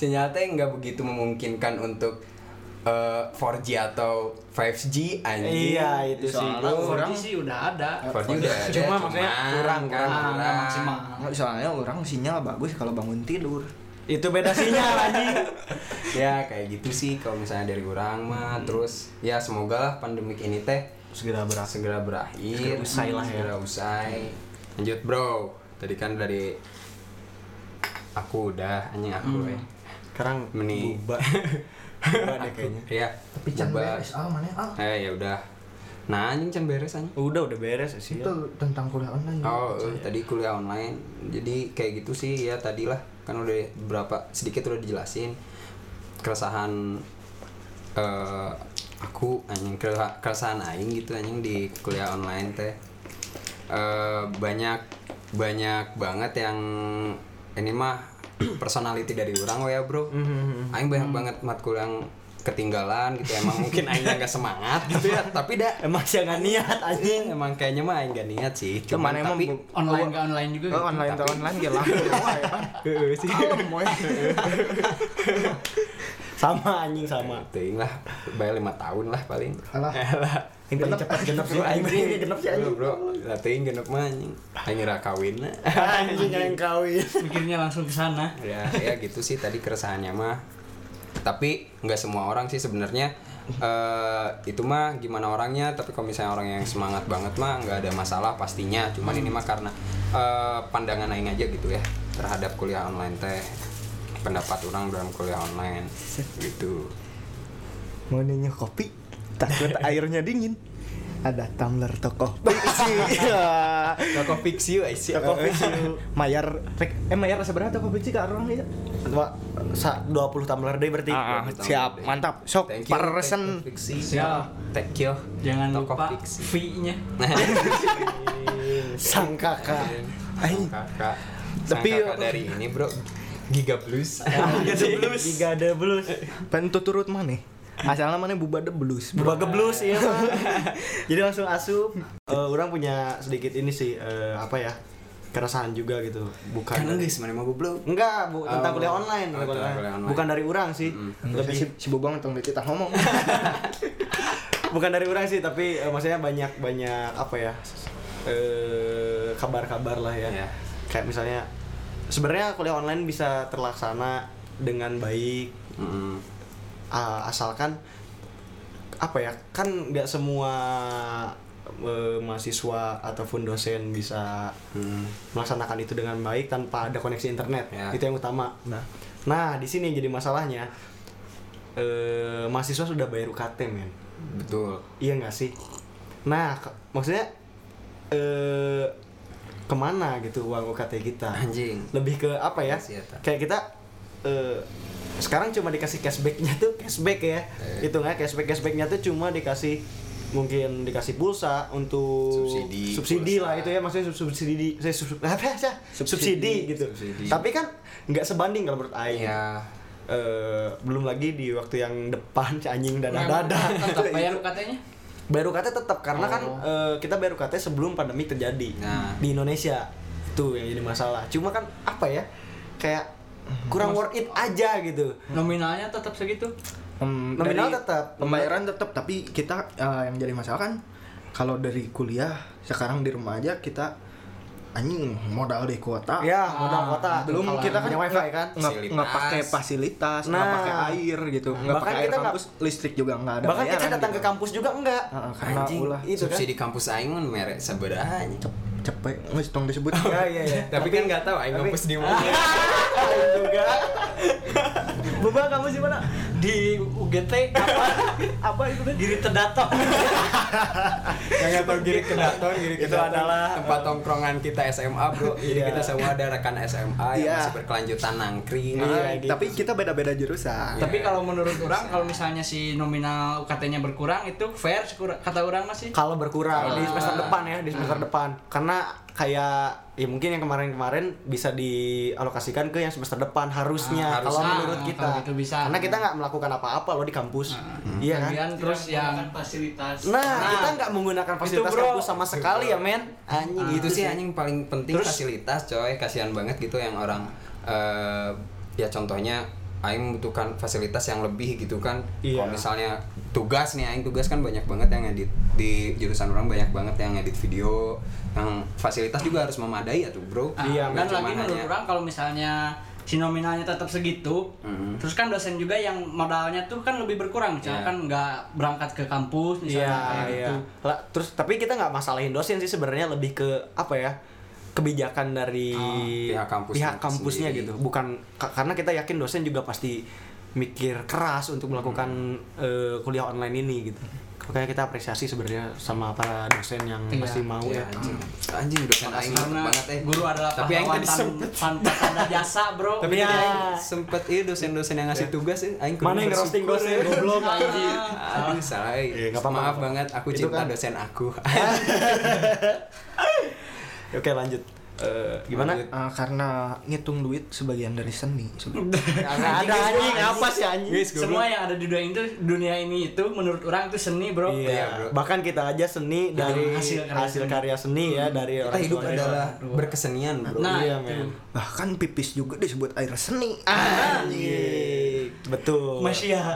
A: sinyal teh nggak begitu memungkinkan untuk eh, 4G atau 5G anjing.
D: Iya, itu sih. Eh,
B: Soalnya
C: Kalau 4G
B: orang-
C: sih udah ada.
A: 4G udah ada,
D: Cuma maksudnya kurang,
A: kan
C: Nah, nggak
A: kurang.
C: maksimal.
B: soalnya orang sinyal bagus kalau bangun tidur.
D: Itu beda sinyal anjing.
A: Ya kayak gitu sih kalau misalnya dari orang mah terus ya semoga lah pandemik ini teh
D: Hmm. Segera berakhir.
A: segera berakhir
D: Segera usai lah ya.
A: segera usai lanjut bro tadi kan dari aku udah anjing
D: Hmm.
A: aku eh.
D: sekarang
A: Meni.
D: buba buba deh kayaknya
A: Iya.
B: tapi can
A: Coba.
B: beres ah mana ah
A: Eh ya udah. Nah anjing can beres anjing.
D: udah udah beres ya, sih
B: itu tentang kuliah online
A: Iya.
D: Hmm.
A: Oh, eh, tadi kuliah online. Jadi kayak gitu sih ya tadilah kan udah berapa sedikit udah dijelasin keresahan eh aku anjing kere- keresahan aing gitu anjing di kuliah online teh. Eh banyak banyak banget yang ini mah personality dari orang we ya, Bro.
D: Hmm,
A: Aing banyak banget matkul yang ketinggalan gitu emang mungkin aingnya nggak semangat gitu ya tapi dah
D: emang sih nggak niat anjing
A: emang kayaknya mah aing gak niat sih
D: Cuman
A: cuman
D: emang
A: tapi
D: bu-
C: online ke online juga gitu.
A: tapi-
B: online
A: Iya,
B: tuh online gila
A: Heeh sih ya?
D: sama anjing sama
A: Teuing lah bayar lima tahun lah paling
B: Alah.
A: Alah.
D: yang paling cepat genep sih anjing genep sih
A: Bro,
D: anjing
A: bro lah teuing genep mah anjing anjing ra kawin lah.
D: anjing yang kawin
C: mikirnya langsung ke sana
A: ya ya gitu sih tadi keresahannya mah tapi nggak semua orang sih sebenarnya eh itu mah gimana orangnya tapi kalau misalnya orang yang semangat banget mah nggak ada masalah pastinya cuman
D: Hmm.
A: ini mah karena eh, pandangan aing aja gitu ya terhadap kuliah online teh pendapat orang dalam kuliah online gitu
B: mau nanya kopi
D: takut airnya dingin
B: ada tumbler toko iya
A: Toko fiksi I see.
D: toko
B: Eh,
D: fiksi
B: mayar rek- eh mayar rasa berapa kopi sih ke orang ya
D: dua puluh tumbler deh berarti
B: Ah, siap mantap sok
A: Thank you.
B: paresen
A: Toko fiksi.
C: Siap.
A: Thank you.
C: jangan
A: Toko
C: lupa
A: fiksi.
C: fee-nya
D: sang kakak
A: Sang kakak. Sang
B: Tapi-
A: kakak dari ini, Bro. Giga Plus.
C: Iya
D: ada belus gak ada belus
B: pentu turut mana asalnya mana bubade belus
D: buka geblus iya Bang. jadi langsung asup Eh, orang punya sedikit ini sih eh, apa ya keresahan juga gitu bukan
A: Kan guys, mana mau goblok.
D: enggak bu, tentang
A: Oh.
D: kuliah online,
A: Oh, tentang kuliah online. Iya
D: bukan dari orang sih
B: lebih si, si bobang tong kita ngomong
D: bukan dari orang sih tapi eh, maksudnya banyak banyak apa ya eh, kabar-kabar lah ya
A: Iya.
D: kayak misalnya sebenarnya kuliah online bisa terlaksana dengan baik
A: Mm-mm.
D: ah, asalkan apa ya kan nggak semua eh, mahasiswa ataupun dosen bisa
A: Hmm.
D: melaksanakan itu dengan baik tanpa ada koneksi internet
A: Ya.
D: itu yang utama nah nah di sini jadi masalahnya eh, mahasiswa sudah bayar UKT men
A: Betul.
D: Iya nggak sih? Nah, ke- maksudnya eh kemana gitu uang UKT kita?
A: Anjing.
D: Lebih ke apa ya?
A: Yes, iya, tak.
D: Kayak kita eh sekarang cuma dikasih cashbacknya tuh cashback ya,
A: Eh.
D: hitungnya cashback cashbacknya tuh cuma dikasih mungkin dikasih pulsa untuk
A: Subsidi,
D: subsidi
A: pulsa.
D: lah itu ya maksudnya sub- subsidi saya sub- apa ya? subsidi, gitu
A: Subsidi.
D: tapi kan nggak sebanding kalau menurut Aing
A: Iya.
D: Eh, belum lagi di waktu yang depan si anjing dada dada
C: Iya, tetap bayar katanya
D: bayar UKT tetap karena kan eh, kita bayar UKT sebelum pandemi terjadi
A: Oh. Nah.
D: di Indonesia itu yang jadi masalah cuma kan apa ya kayak kurang worth it aja gitu
C: nominalnya tetap segitu
B: Hmm,
D: Nominal
B: dari
D: tetap.
B: pembayaran tetap tapi kita eh, yang jadi masalah kan kalau dari kuliah sekarang di rumah aja kita anjing modal di kuota
D: ya modal kota
B: belum kita kan
D: punya wifi kan
B: nggak nggak pakai fasilitas nggak
D: Nah.
B: pakai air gitu nggak
D: Bahkan
B: pakai air
D: kita nggak-
B: kampus listrik juga nggak ada
D: bahkan kita
B: bayaran
D: datang ke
B: gitu.
D: kampus juga enggak
B: Heeh, karena
A: Anjing.
B: ulah
D: itu kan
A: subsidi kampus aing mah merek sabaraha anjing.
B: Cep- cepet nggak tong disebut
D: ya iya iya
A: Tapi kan nggak tahu aing
D: tapi-
A: kampus di mana.
D: juga Boba kamu sih mana
C: di UGT apa apa itu kan diri terdatang
A: Iya. Yang nggak tahu kiri ke daton, kiri ke
D: Itu
A: daton.
D: adalah,
A: tempat tongkrongan kita SMA, Bro. Jadi
D: Iya.
A: kita semua ada rekan SMA yang
B: Iya.
A: masih berkelanjutan nangkring.
D: Iya,
B: Ah,
D: gitu.
B: tapi kita beda-beda jurusan
A: Iya.
C: tapi kalau menurut orang kalau misalnya si nominal UKT-nya berkurang itu fair sekura- kata orang masih
D: kalau berkurang di
A: Ah.
D: semester depan ya di semester
C: Hmm.
D: depan karena kayak ya mungkin yang kemarin-kemarin bisa dialokasikan ke yang semester depan
A: Ah,
D: harusnya kalau
A: harusnya.
D: menurut
C: Ah,
D: kita
C: kalau gitu bisa. Hmm.
D: karena
C: Nah,
D: kita nggak melakukan apa-apa loh di kampus iya kan
C: kemudian terus yang
E: fasilitas
D: nah, kita nggak menggunakan fasilitas
C: bro.
D: kampus sama sekali ya men anjing
A: itu
D: gitu
A: sih anjing paling penting fasilitas coy kasihan banget gitu yang orang eh, ya contohnya aing membutuhkan fasilitas yang lebih gitu kan
D: Iya.
A: kalau misalnya tugas nih aing tugas kan banyak banget yang edit di jurusan orang banyak banget yang edit video yang fasilitas juga harus memadai ya tuh bro
C: Ah,
D: Iya,
A: Nggak
C: dan lagi
A: cuma
C: menurut
A: hanya-
C: orang kalau misalnya si nominalnya tetap segitu,
A: Mhm.
C: terus kan dosen juga yang modalnya tuh kan lebih berkurang,
A: Iya.
C: misalnya kan nggak berangkat ke kampus misalnya
D: Iya,
C: kayak
D: iya.
C: gitu.
D: Lah, terus tapi kita nggak masalahin dosen sih sebenarnya lebih ke apa ya? kebijakan dari
A: pihak kampusnya
D: pihak kampusnya
A: sendiri.
D: gitu bukan ka- karena kita yakin dosen juga pasti mikir keras untuk melakukan eh, kuliah online ini gitu makanya kita apresiasi sebenarnya sama para dosen yang
C: Iya.
D: masih mau
A: Ya,
D: ya
A: anjing. Anjing dosen aing
C: karena
A: banget eh.
C: guru adalah
A: Tapi aing
C: pahlawan
A: tadi
C: tan-
A: sempet.
C: tanpa tanda jasa bro
A: Tapi
C: Iya.
A: tadi aing sempet iya dosen-dosen yang ngasih tugas eh, aing kudu
D: Ya. mana yang ngerosting
A: bersyukur,
D: dosen
A: eh.
D: goblok anjir
A: Aduh salah. eh.
D: Iya,
A: Maaf
D: nggak apa-apa, nggak apa-apa.
A: banget aku
D: Itu
A: cinta
D: kan- Iya,
A: dosen aku.
D: oke lanjut Eh, gimana
A: Lanjut.
B: Eh, karena ngitung duit sebagian dari seni sebenarnya.
D: Nggak ada anjing apa sih anjing
A: Guys, goblok.
C: semua yang ada di dunia itu dunia ini itu menurut orang itu seni
A: Iya,
C: bro
A: bro.
D: Iya, bahkan kita aja seni dari hasil
C: hasil
D: karya,
C: karya seni.
D: seni ya dari
A: Kita
D: orang
A: hidup
D: tua.
A: adalah berkesenian, Bro.
C: nah
D: Iya,
C: itu.
D: men.
B: bahkan pipis juga disebut air seni
D: Anjing. Betul.
C: Masya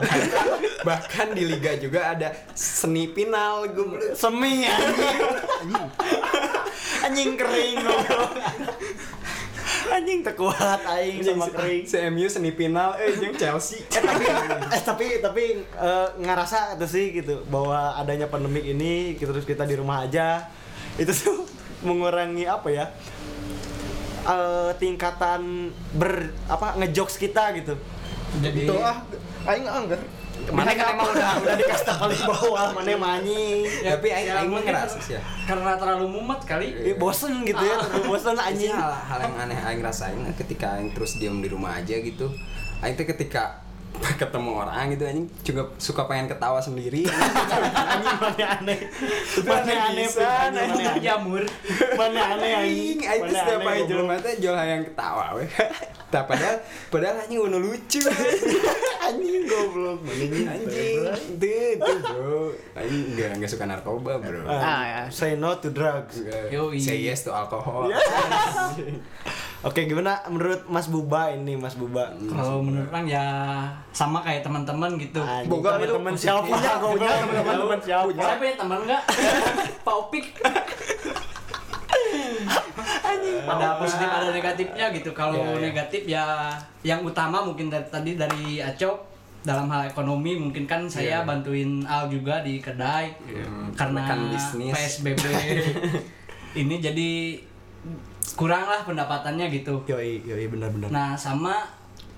A: Iya. Bahkan di liga juga ada seni final goblok.
D: semi anjing. anjing kering goblok. Anjing terkuat aing sama kering.
A: CMU seni final eh jeung Chelsea.
D: Eh, tapi eh, tapi tapi eh, ngerasa itu sih gitu bahwa adanya pandemik ini kita terus kita di rumah aja itu tuh mengurangi apa ya eh, tingkatan ber apa ngejokes kita gitu
C: jadi
B: itu ah aing angger
D: mana kan emang udah udah dikasih tau di bawah mana yang manyi
A: Tapi aing
C: ya,
A: aing mah
C: mungkin
A: ngerasa sih ya.
C: karena terlalu mumet kali
A: Iya.
D: Eh, bosen gitu ya terus bosen
A: anjing
D: anjing
A: hal, hal Iya, yang aneh aing rasain ketika aing terus diam di rumah aja gitu aing tuh ketika ketemu orang gitu anjing juga suka pengen ketawa sendiri
D: anjing mana aneh mana
A: Anjing
D: aneh
A: bisa,
D: pisan,
A: anjing
D: anjing.
C: Untuk ya, jamur
D: mana aneh
A: anjing aing
D: anjing
A: tuh
D: Mana
A: setiap
D: aneh,
A: aing
D: goblok.
A: jelema teh jual hayang ketawa we Tah, padahal padahal anjing anu lucu
D: anjing goblok
A: anjing tuh tuh bro anjing enggak enggak suka narkoba bro
D: Ah, ya. say no to drugs
A: Nggak-
C: Yoi.
A: say yes to alcohol
D: Iya. Oke, gimana menurut Mas Buba ini, Mas Buba?
C: kalau menurut orang ya sama kayak teman-teman gitu
D: Anjing,
B: Boga itu
D: teman-teman siapa? Punya, punya teman-teman siapa?
C: Saya punya teman nggak? Pak Opik. ada positif ada negatifnya gitu. Kalau
D: Iya, iya.
C: negatif ya yang utama mungkin dari tadi dari Acok dalam hal ekonomi mungkin kan saya bantuin Al juga di kedai karena
A: Rekan bisnis.
C: PSBB ini jadi kurang lah pendapatannya gitu.
D: Yoi, yoi benar-benar.
C: Nah, sama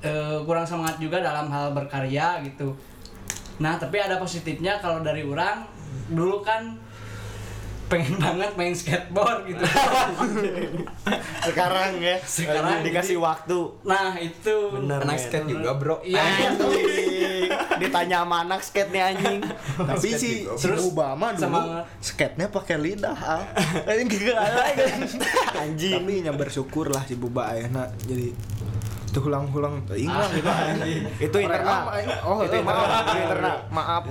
C: eh, kurang semangat juga dalam hal berkarya gitu. Nah, tapi ada positifnya kalau dari orang dulu kan pengen banget main skateboard gitu.
D: Sekarang ya,
C: Sekarang
D: eh, dikasih waktu.
C: nah, itu
D: Benar.
A: anak skate juga bro
C: Iya.
D: Anjing, ditanya sama anak skate nih anjing.
B: tapi
A: Skate
B: si,
A: juga.
B: si
C: Terus,
B: Obama dulu
C: sama-
B: skate-nya pakai lidah ah Aing gak ada, kan. anjing tapi nya bersyukur lah si Buba ayeuna jadi tuh hulang-hulang teuing
C: Ah,
B: lah gitu
C: iya.
B: anjing
D: Ah, Itu internal.
B: oh
D: Itu
B: itu
D: internal,
B: internal
D: itu internal.
B: maaf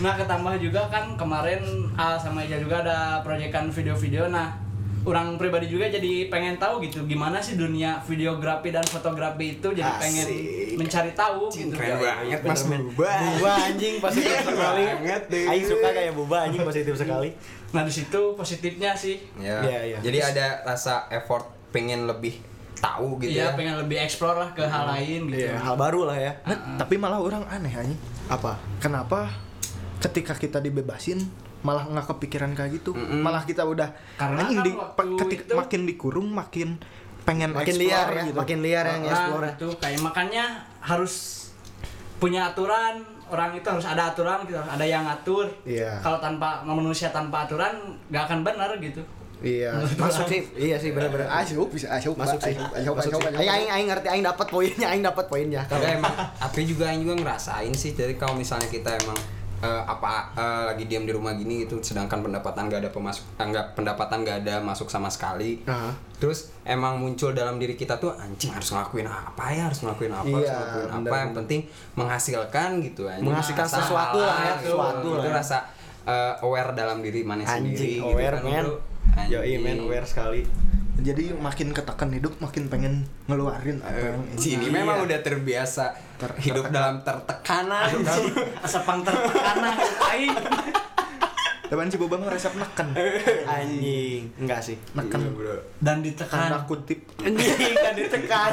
C: Nah, ketambah juga kan kemarin Al sama Ija juga ada proyekan video-video. Nah, orang pribadi juga jadi pengen tahu gitu gimana sih dunia videografi dan fotografi itu jadi pengen
A: Asik.
C: mencari tahu gitu.
A: keren banget Iya. mas Buba
D: Buba anjing positif sekali.
A: banget, dude.
D: Aing suka kayak Buba anjing positif sekali.
C: Nah, di situ positifnya sih
A: Ya.
D: Iya, iya.
A: Jadi ada rasa effort pengen lebih tahu gitu
C: Iya,
A: ya. Hmm.
C: pengen lebih explore lah ke hal lain gitu.
D: Iya, hal baru lah ya.
B: Nah, tapi malah orang aneh anjing
D: Apa?
B: kenapa ketika kita dibebasin malah nggak kepikiran kayak gitu
A: Mm-mm.
B: malah kita udah
C: Karena
B: anjing
C: kan
B: di-
C: waktu
B: pa- ketik-
C: itu-
B: makin dikurung makin pengen
D: Makin
B: explore
D: liar ya,
B: gitu.
D: makin liar yang
C: Orang
D: explore. ya.
C: itu kayak makanya harus punya aturan. Orang itu harus ada aturan, gitu. ada yang ngatur.
D: Iya.
C: Kalau tanpa manusia tanpa aturan nggak akan benar gitu.
D: Iya, masuk sih. Iya sih benar-benar.
B: asyuk Ah, bisa asyuk
D: masuk sih.
B: asyuk
D: Masuk
B: asyuk
D: sih. Aing aing aing ngerti aing dapat poinnya, aing dapat poinnya.
A: Enggak, emang. Tapi juga yang juga ngerasain sih. Jadi kalau misalnya kita emang eh, apa eh, lagi diam di rumah gini gitu, sedangkan pendapatan gak ada pemasuk, eh, nggak- pendapatan gak ada masuk sama sekali.
D: Aha.
A: Terus emang muncul dalam diri kita tuh anjing harus ngelakuin apa ya, harus ngelakuin apa, harus
D: Iya,
A: ngelakuin
D: bener,
A: apa. Yang
D: bener.
A: penting menghasilkan gitu anjing.
D: Menghasilkan
A: Rasa
D: sesuatu lah ya,
A: halal gitu.
D: sesuatu lah
A: Itu
D: ya.
A: rasa eh, aware dalam diri mana sendiri
D: Anjing
A: gitu
D: aware
A: kan,
D: men.
A: bro.
D: Yoi men
A: Anjing.
D: aware sekali.
B: jadi makin ketekan hidup makin pengen ngeluarin apa yang
A: Eh, Sini
D: Iya.
A: memang udah terbiasa
B: Ter-
A: hidup dalam tertekanan.
C: Sepang tertekanan. Aing.
B: Teman si Boba ngerasa neken.
D: Eh. anjing enggak sih
B: Neken.
A: Iya, bro.
C: dan
D: Kan.
B: Karena
C: ditekan
B: kutip
D: anjing kan ditekan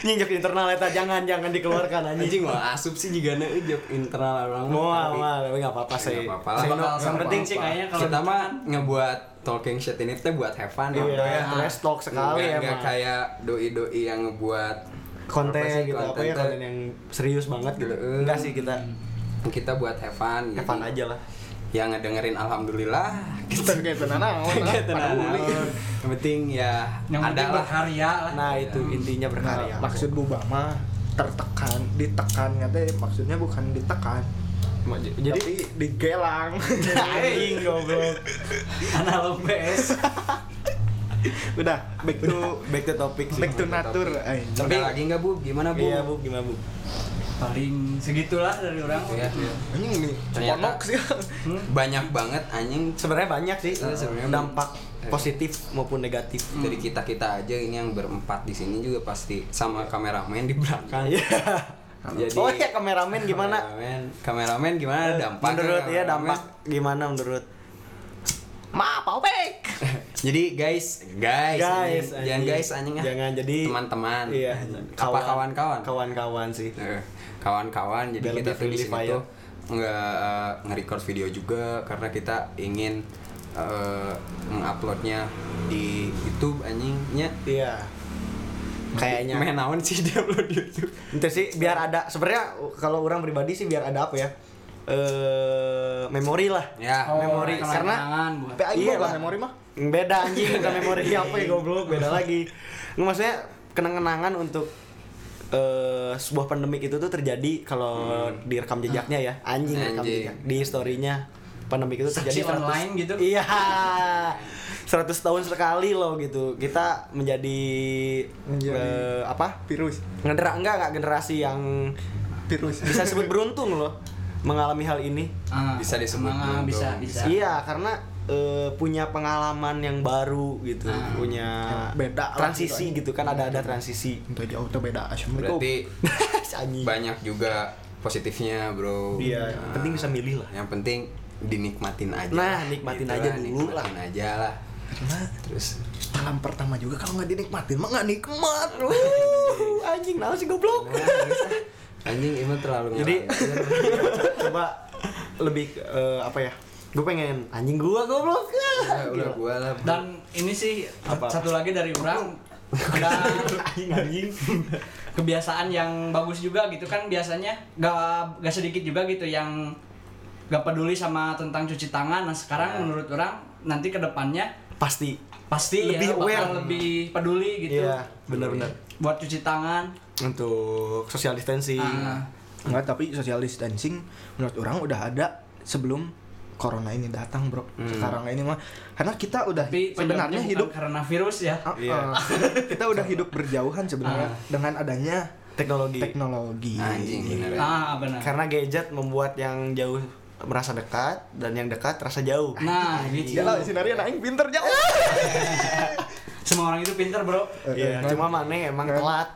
D: nginjek internal eta jangan jangan dikeluarkan
A: Anjing
D: anjing
A: mah asup sih juga nih jawab internal orang.
D: Mual, mual, tapi nggak apa-apa sih.
A: Nggak apa-apa lah.
D: Saya
C: Bakal
D: no-
C: sama
D: yang penting
C: sih kayaknya kalau
A: kita mah ngebuat talking shit ini teh buat have fun
D: Iya,
A: ya.
D: trash talk sekali
A: Nggak- nggak
D: emang.
A: kayak doi-doi yang ngebuat
D: konten
A: apa sih,
D: gitu apa ya
A: teh.
D: konten yang serius banget gitu.
A: Heeh.
D: Enggak sih kita
A: kita buat have fun.
D: have
A: jadi
D: fun aja lah.
A: Yang ngedengerin alhamdulillah.
B: kita Gitu, kayak tenang
A: Yang penting ya
C: yang
A: ada
C: penting
A: lah.
C: berkarya lah Ya.
D: Nah, itu
A: Iya.
D: intinya berkarya.
B: Nah, maksud Boba mah tertekan, ditekan katanya maksudnya bukan ditekan.
D: jadi
B: Tapi digelang.
D: anjing goblok.
C: analog PS
B: Udah, back to
D: Back to topic sih.
B: back to nature. Eh,
A: Tapi lagi nggak bu? Gimana bu?
D: Iya, Bu, gimana, Bu?
C: paling segitulah dari orang
D: Gitu
A: Iya.
D: ya.
B: Anjing nih,
A: Ternyata-
B: ponok sih.
C: Hmm?
A: Banyak banget anjing
D: Sebenarnya banyak sih
A: Iya, sebenarnya.
D: dampak
A: Iya.
D: positif maupun negatif.
A: dari kita kita aja ini yang berempat di sini juga pasti sama kameramen di belakang.
D: Iya.
A: Jadi-
D: oh iya kameramen gimana?
A: Kameramen, kameramen gimana Eh, dampak?
D: Eh, menurut ya dampak gimana menurut? Ma, pau baik.
A: Jadi guys, guys,
D: guys,
A: anjing. Eh, jangan
D: anjing.
A: guys anjing ah.
D: Jangan jadi
A: teman-teman.
D: Iya.
A: Apa kawan-kawan?
D: Kawan-kawan sih.
A: Eh, Kawan-kawan. Jadi
D: Biar
A: kita tuh
D: lebih ya.
A: di
D: friendly
A: sini
D: fire.
A: tuh nggak eh, nge-record video juga karena kita ingin eh, menguploadnya di YouTube anjingnya.
D: Iya. Kayaknya.
A: Main naon sih dia upload di YouTube.
D: Itu sih biar ada sebenarnya kalau orang pribadi sih biar ada apa ya? Eh memori lah.
A: Ya.
C: Oh,
D: memori
C: kenang-
D: karena
C: kenangan buat-
D: Pe- iya lah.
B: memori mah.
D: Beda anjing bukan memori apa ya goblok, beda lagi. Nggak, maksudnya kenang-kenangan untuk eh sebuah pandemik itu tuh terjadi kalau direkam jejaknya ya. Anjing, rekam
A: Anjing.
D: jejak di historinya pandemik itu
C: Saksi
D: terjadi 100
C: online gitu.
D: Iya. 100 tahun sekali loh gitu. Kita menjadi,
B: Menjadi-
D: eh, apa?
B: Virus,
D: Ngedera enggak enggak generasi yang
B: virus.
D: bisa disebut beruntung loh mengalami hal ini.
C: Ah,
A: Bisa disebut
C: semangat,
A: dong.
C: bisa bisa
D: Iya, karena eh, punya pengalaman yang baru gitu, punya
B: Beda lah
D: transisi gitu kan ada ada transisi.
B: Untuk jauh tuh beda. Assalamualaikum.
A: Berarti
D: Si Anjing.
A: banyak juga positifnya, Bro.
D: Iya,
A: Nah,
D: penting bisa milih lah.
A: yang penting dinikmatin aja Gitu
D: Nah, nikmatin aja
A: lah,
D: dulu lah.
A: nikmatin aja lah
B: Karena
A: terus
B: talam pertama juga kalau nggak dinikmatin mah nggak nikmat.
D: Uh, anjing, naon sih goblok.
A: nah, terus, ah, anjing ini terlalu
D: Jadi-
A: ngelantur.
D: Coba lebih eh, apa ya? Gue pengen anjing gua goblok.
A: Ya, udah
D: Gila.
A: gua lah
C: dan ini sih
D: Apa?
C: satu lagi dari orang ada
D: anjing anjing.
C: kebiasaan yang bagus juga gitu kan biasanya gak gak sedikit juga gitu yang gak peduli sama tentang cuci tangan nah
D: Iya.
C: sekarang menurut orang nanti kedepannya
D: Pasti.
C: pasti
D: Lebih
C: ya bakal
D: aware.
C: lebih peduli gitu
D: Iya, benar-benar.
C: buat cuci tangan
D: Untuk social distancing.
C: Ah.
B: Enggak, Nah, tapi social distancing menurut orang udah ada sebelum corona ini datang, Bro. Sekarang ini mah karena kita udah
C: tapi
B: sebenarnya
C: penyebabnya bukan
B: hidup
C: karena virus ya
B: Ah,
D: Iya.
B: ah. kita udah hidup berjauhan sebenarnya dengan adanya
D: Teknologi.
B: teknologi.
A: anjing bener ya.
C: ah benar
D: Karena gadget membuat yang jauh merasa dekat dan yang dekat terasa jauh.
C: nah gitu
B: Ya lah,
D: Iya.
B: sinarnya naik pinter jauh.
C: semua orang itu pinter bro
D: Iya, cuma maneh emang
B: Kan.
D: telat.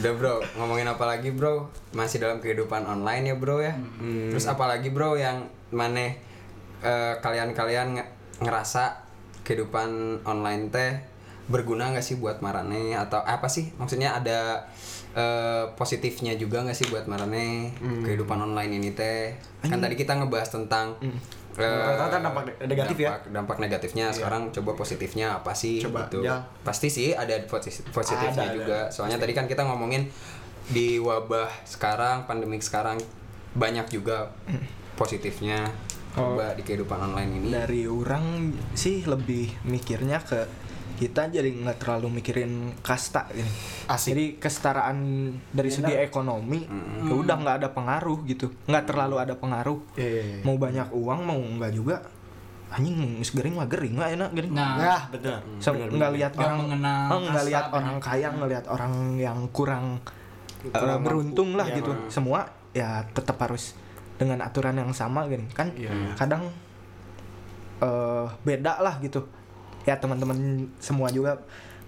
A: udah bro ngomongin apa lagi bro masih dalam kehidupan online ya bro ya terus apalagi bro yang maneh eh, kalian-kalian nge- ngerasa kehidupan online teh berguna nggak sih buat marane atau apa sih maksudnya ada eh, positifnya juga nggak sih buat marane
D: Mm.
A: kehidupan online ini teh kan tadi kita ngebahas tentang eh,
D: Mm. Rata-rata dampak ne- negatif ya.
A: dampak- dampak negatifnya sekarang coba positifnya apa sih
D: Coba,
A: gitu.
D: ya.
A: pasti sih ada posi- positifnya
D: Ada, ada.
A: juga soalnya tadi kan kita ngomongin di wabah sekarang pandemik sekarang banyak juga positifnya coba di kehidupan online ini
B: Dari orang sih lebih mikirnya ke kita jadi nggak terlalu mikirin kasta ini.
D: Asik.
B: Jadi kesetaraan dari segi ekonomi ya udah nggak ada pengaruh gitu, nggak terlalu ada pengaruh.
D: Iya, iya, iya.
B: Mau banyak uang mau nggak juga, anjing geus gering mah gering nggak enak gering.
C: nah
D: Nah, betul.
B: So, Hmm. nggak lihat
C: Nggak
B: orang
C: mengenal
B: oh, nggak
C: kasta,
B: lihat
C: bener.
B: orang kaya ngelihat orang yang kurang eh,
D: Kurang mampu.
B: beruntung lah
D: Iya,
B: gitu semua ya tetap harus dengan aturan yang sama kan kan
D: Iya.
B: kadang eh, beda lah gitu ya teman-teman semua juga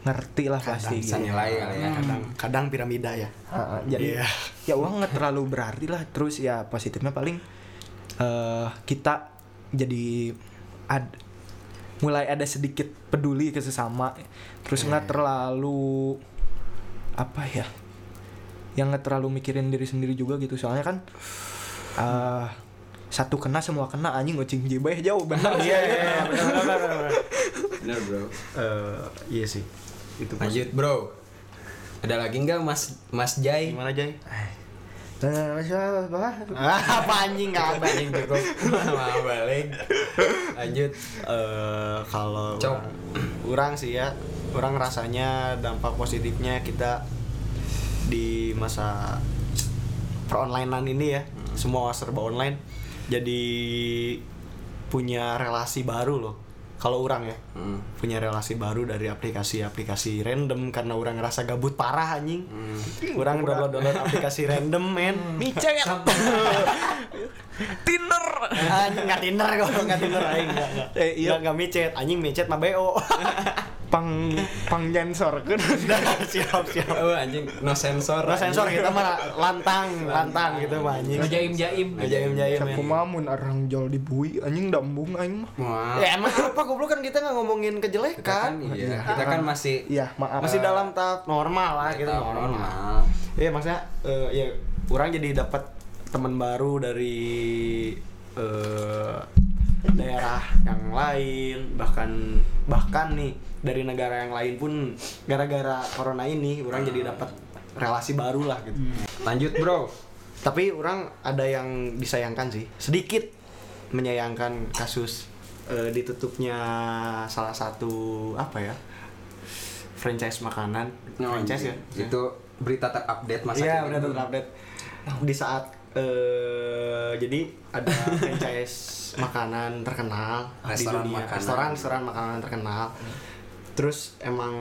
B: ngerti lah pasti
A: bisa
B: gitu.
A: nilai kali ya kadang
D: kadang piramida ya
B: Ha, ha, jadi
D: Iya.
B: ya uang nggak terlalu berarti lah terus ya positifnya paling eh kita jadi ad- mulai ada sedikit peduli ke sesama terus
D: Iya.
B: nggak terlalu apa ya yang nggak terlalu mikirin diri sendiri juga gitu soalnya kan eh satu kena semua kena anjing ngocing oh, jebay jauh benar
D: iya iya
A: bener bro
D: iya sih itu
A: lanjut bro ada lagi nggak mas mas Jai
D: gimana Jay
B: Ah, apa anjing nggak apa
A: anjing cukup mau balik lanjut
D: eh kalau
A: Cok.
D: orang, orang sih ya orang rasanya dampak positifnya kita di masa peronlinean ini ya semua serba online jadi punya relasi baru loh kalau orang ya
A: Hmm.
D: punya relasi baru dari aplikasi-aplikasi random karena orang ngerasa gabut parah anjing
A: hmm.
D: orang download download aplikasi random men micet tinder anjing Ah, nggak tinder kok nggak tinder aing nggak nggak.
B: Eh, iya.
D: nggak nggak micet anjing micet mah bo
B: pang pang sensor kan
D: Udah, siap siap
A: oh anjing no sensor
D: Nah, sensor kita mah lantang lantang gitu mah anjing
C: Jaim jaim.
D: jaim jaim
B: Sapu mamun orang jual di bui anjing dambung anjing mah.
A: Wah,
D: ya emang apa goblok kan kita nggak ngomongin
A: kita kan,
D: kejelekan
A: iya, kita kan masih
B: Iya, maaf.
D: masih dalam tahap normal lah gitu. kita
A: tahap normal.
D: Iya maksudnya eh, ya orang jadi dapat teman baru dari eh, daerah yang lain bahkan bahkan nih dari negara yang lain pun gara-gara corona ini orang jadi dapat relasi baru lah gitu.
A: lanjut bro
D: Tapi orang ada yang disayangkan sih sedikit menyayangkan kasus eh, ditutupnya salah satu apa ya franchise makanan
A: Oh,
D: franchise ya
A: itu berita terupdate masa gitu.
D: Iya
A: kini.
D: udah terupdate di saat eh jadi ada franchise makanan terkenal
A: Restoran
D: di dunia
A: makanan. Hmm.
D: restoran restoran makanan terkenal terus emang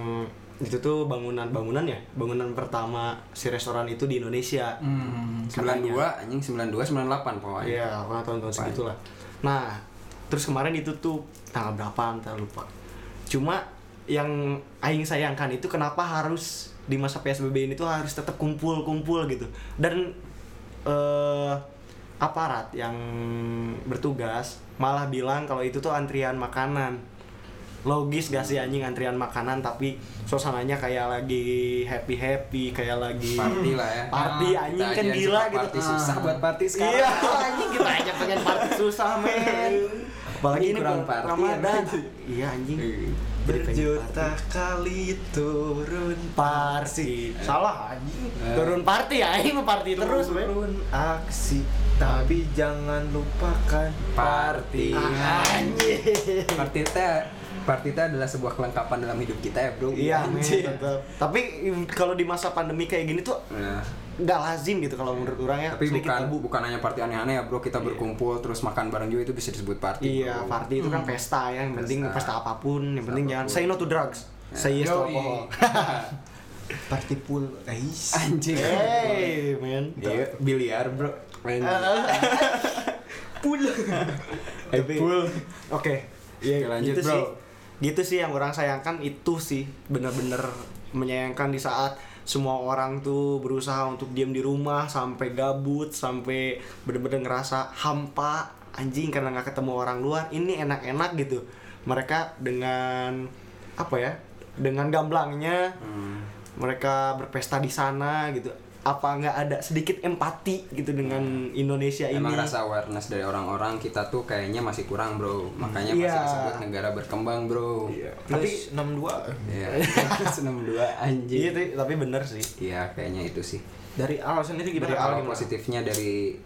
D: itu tuh bangunan-bangunan ya bangunan pertama si restoran itu di Indonesia
A: Hmm.
C: Hmm.
A: 92 anjing 92 98 pokoknya
D: Iya, pokoknya tahun-tahun segitulah. Nah, terus kemarin ditutup tanggal berapa entar lupa. Cuma yang aing sayangkan itu kenapa harus di masa PSBB ini tuh harus tetap kumpul-kumpul gitu. Dan eh aparat yang bertugas malah bilang kalau itu tuh antrian makanan. Logis gak sih anjing antrian makanan tapi suasananya kayak lagi happy-happy, kayak lagi
A: party lah ya
D: Party,
A: Ah, kita
D: anjing, kan
A: aja yang
D: gila
A: suka
D: gitu.
A: party susah buat party sekarang
D: Iya, anjing kita aja pengen party susah, men. Apalagi
A: Ini
D: ini
A: kurang
D: kurang
A: party,
D: Ramadan.
A: anjing.
D: Iya, anjing. Jadi pengen
B: berjuta kali turun
D: Party.
B: salah anjing
D: Turun party ya, ini mau party terus, men.
B: turun aksi tapi jangan lupakan
A: party
D: Ah, Anjing.
A: party teh party teh adalah sebuah kelengkapan dalam hidup kita ya bro
D: Iya, men.
A: Anjing.
D: tetep. Tapi im, kalau di masa pandemi kayak gini tuh
A: Nah,
D: nggak lazim gitu kalau menurut orang ya.
A: tapi
D: Sedikit
A: bukan
D: tabu.
A: bukan hanya party aneh-aneh ya bro kita berkumpul terus makan bareng juga itu bisa disebut party
D: Iya,
A: bro.
D: party itu kan pesta ya. Yang penting
A: Pesta.
D: pesta apapun, yang penting jangan
A: apapun. Ya.
D: say no to drugs. Say yes to
A: Yoi.
D: alcohol.
B: party pool guys
A: anjing
D: Eh. Hey, men.
A: iya biliar bro Anjing.
B: pool
D: Eh, full. Oke.
A: Iya, lanjut,
D: gitu
A: bro.
D: Sih, gitu sih yang orang sayangkan itu sih bener-bener menyayangkan di saat semua orang tuh berusaha untuk diam di rumah sampai gabut sampai bener-bener ngerasa hampa anjing karena nggak ketemu orang luar ini enak-enak gitu mereka dengan apa ya dengan gamblangnya
A: Hmm.
D: mereka berpesta di sana gitu apa nggak ada sedikit empati gitu dengan Indonesia
A: Hmm. Emang
D: ini
A: rasa awareness dari orang-orang kita tuh kayaknya masih kurang bro Makanya masih
D: Iya.
A: disebut negara berkembang bro Iya
D: tapi
B: tapi 62
A: Plus 62 anjing
D: Iya, tapi, tapi bener sih.
A: Iya kayaknya itu sih
B: dari awal
A: Dari
B: sendiri gimana
A: awal positifnya dari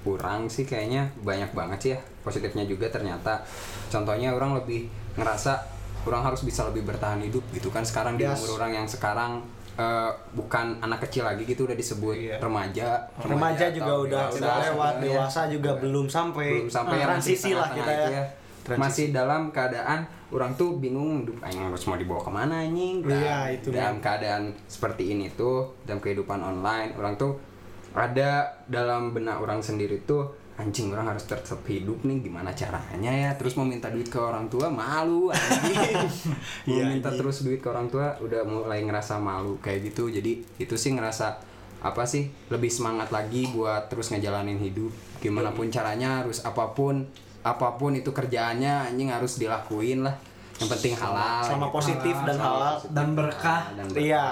A: kurang sih kayaknya banyak banget sih ya Positifnya juga ternyata Contohnya orang lebih ngerasa Orang harus bisa lebih bertahan hidup gitu kan Sekarang di
D: Yes.
A: umur orang yang sekarang eh, bukan anak kecil lagi gitu udah disebut remaja
D: Iya. Remaja juga
A: atau
D: udah
A: dewasa Iya,
D: udah lewat,
A: sebenarnya.
D: dewasa juga belum sampai.
A: ya. belum sampai
D: Ah,
A: yang Ah, masih
D: transisi lah kita
A: tengah-tengah
D: ya.
A: itu masih dalam keadaan orang tuh bingung duh anjing harus mau dibawa kemana anjing Nah,
D: Iya, itu,
A: dalam keadaan seperti ini tuh dalam kehidupan online orang tuh ada dalam benak orang sendiri tuh anjing orang harus tetap hidup nih gimana caranya ya terus mau minta duit ke orang tua malu anjing mau
D: Iya,
A: minta
D: anjing.
A: terus duit ke orang tua udah mulai ngerasa malu kayak gitu jadi itu sih ngerasa apa sih lebih semangat lagi buat terus ngejalanin hidup gimana pun caranya harus apapun apapun itu kerjaannya anjing harus dilakuin lah yang penting halal
D: Selama
A: gitu.
D: positif dan
A: Selama
D: halal.
A: positif
C: Dan berkah.
A: dan berkah.
D: Iya.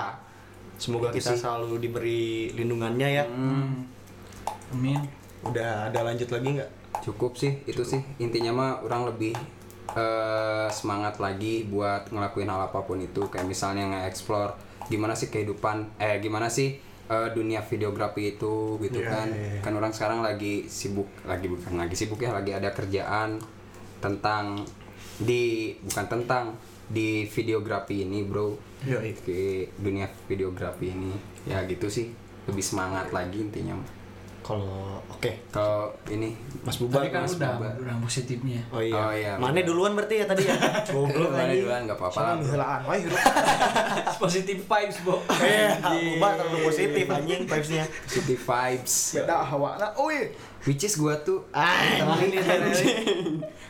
D: Semoga
A: Itu
D: kita
A: sih. Hmm.
D: selalu diberi lindungannya ya.
C: Hmm. Amin.
D: Udah ada lanjut lagi nggak?
A: cukup sih itu sih intinya mah orang lebih eh, semangat lagi buat ngelakuin hal apapun itu kayak misalnya nge-explore gimana sih kehidupan eh gimana sih eh, dunia videografi itu gitu
D: Iya,
A: kan
D: iya, iya.
A: kan orang sekarang lagi sibuk lagi bukan lagi sibuk ya lagi ada kerjaan tentang di bukan tentang di videografi ini bro
D: Yoi.
A: di dunia videografi ini ya gitu sih lebih semangat lagi intinya mah.
D: Kalau oke,
A: kalau ini
D: Mas
C: Tadi
D: Bubar.
C: kan
D: Mas-
C: udah,
A: Baba.
C: udah positifnya.
D: Oh iya.
A: Oh iya,
D: Mane
A: benar.
D: duluan berarti ya tadi ya.
A: Belum
D: Goblok
A: ada
D: lagi.
A: duluan nggak apa-apa lah.
B: Soalnya nuhelaan wae hirup.
C: Positif vibes, Bo.
D: Eh, Bubar terlalu positif anjing vibes-nya.
A: City vibes.
B: Beda hawa lah. Oi.
A: Which is gua tuh
D: Ah,
C: Nah, Ini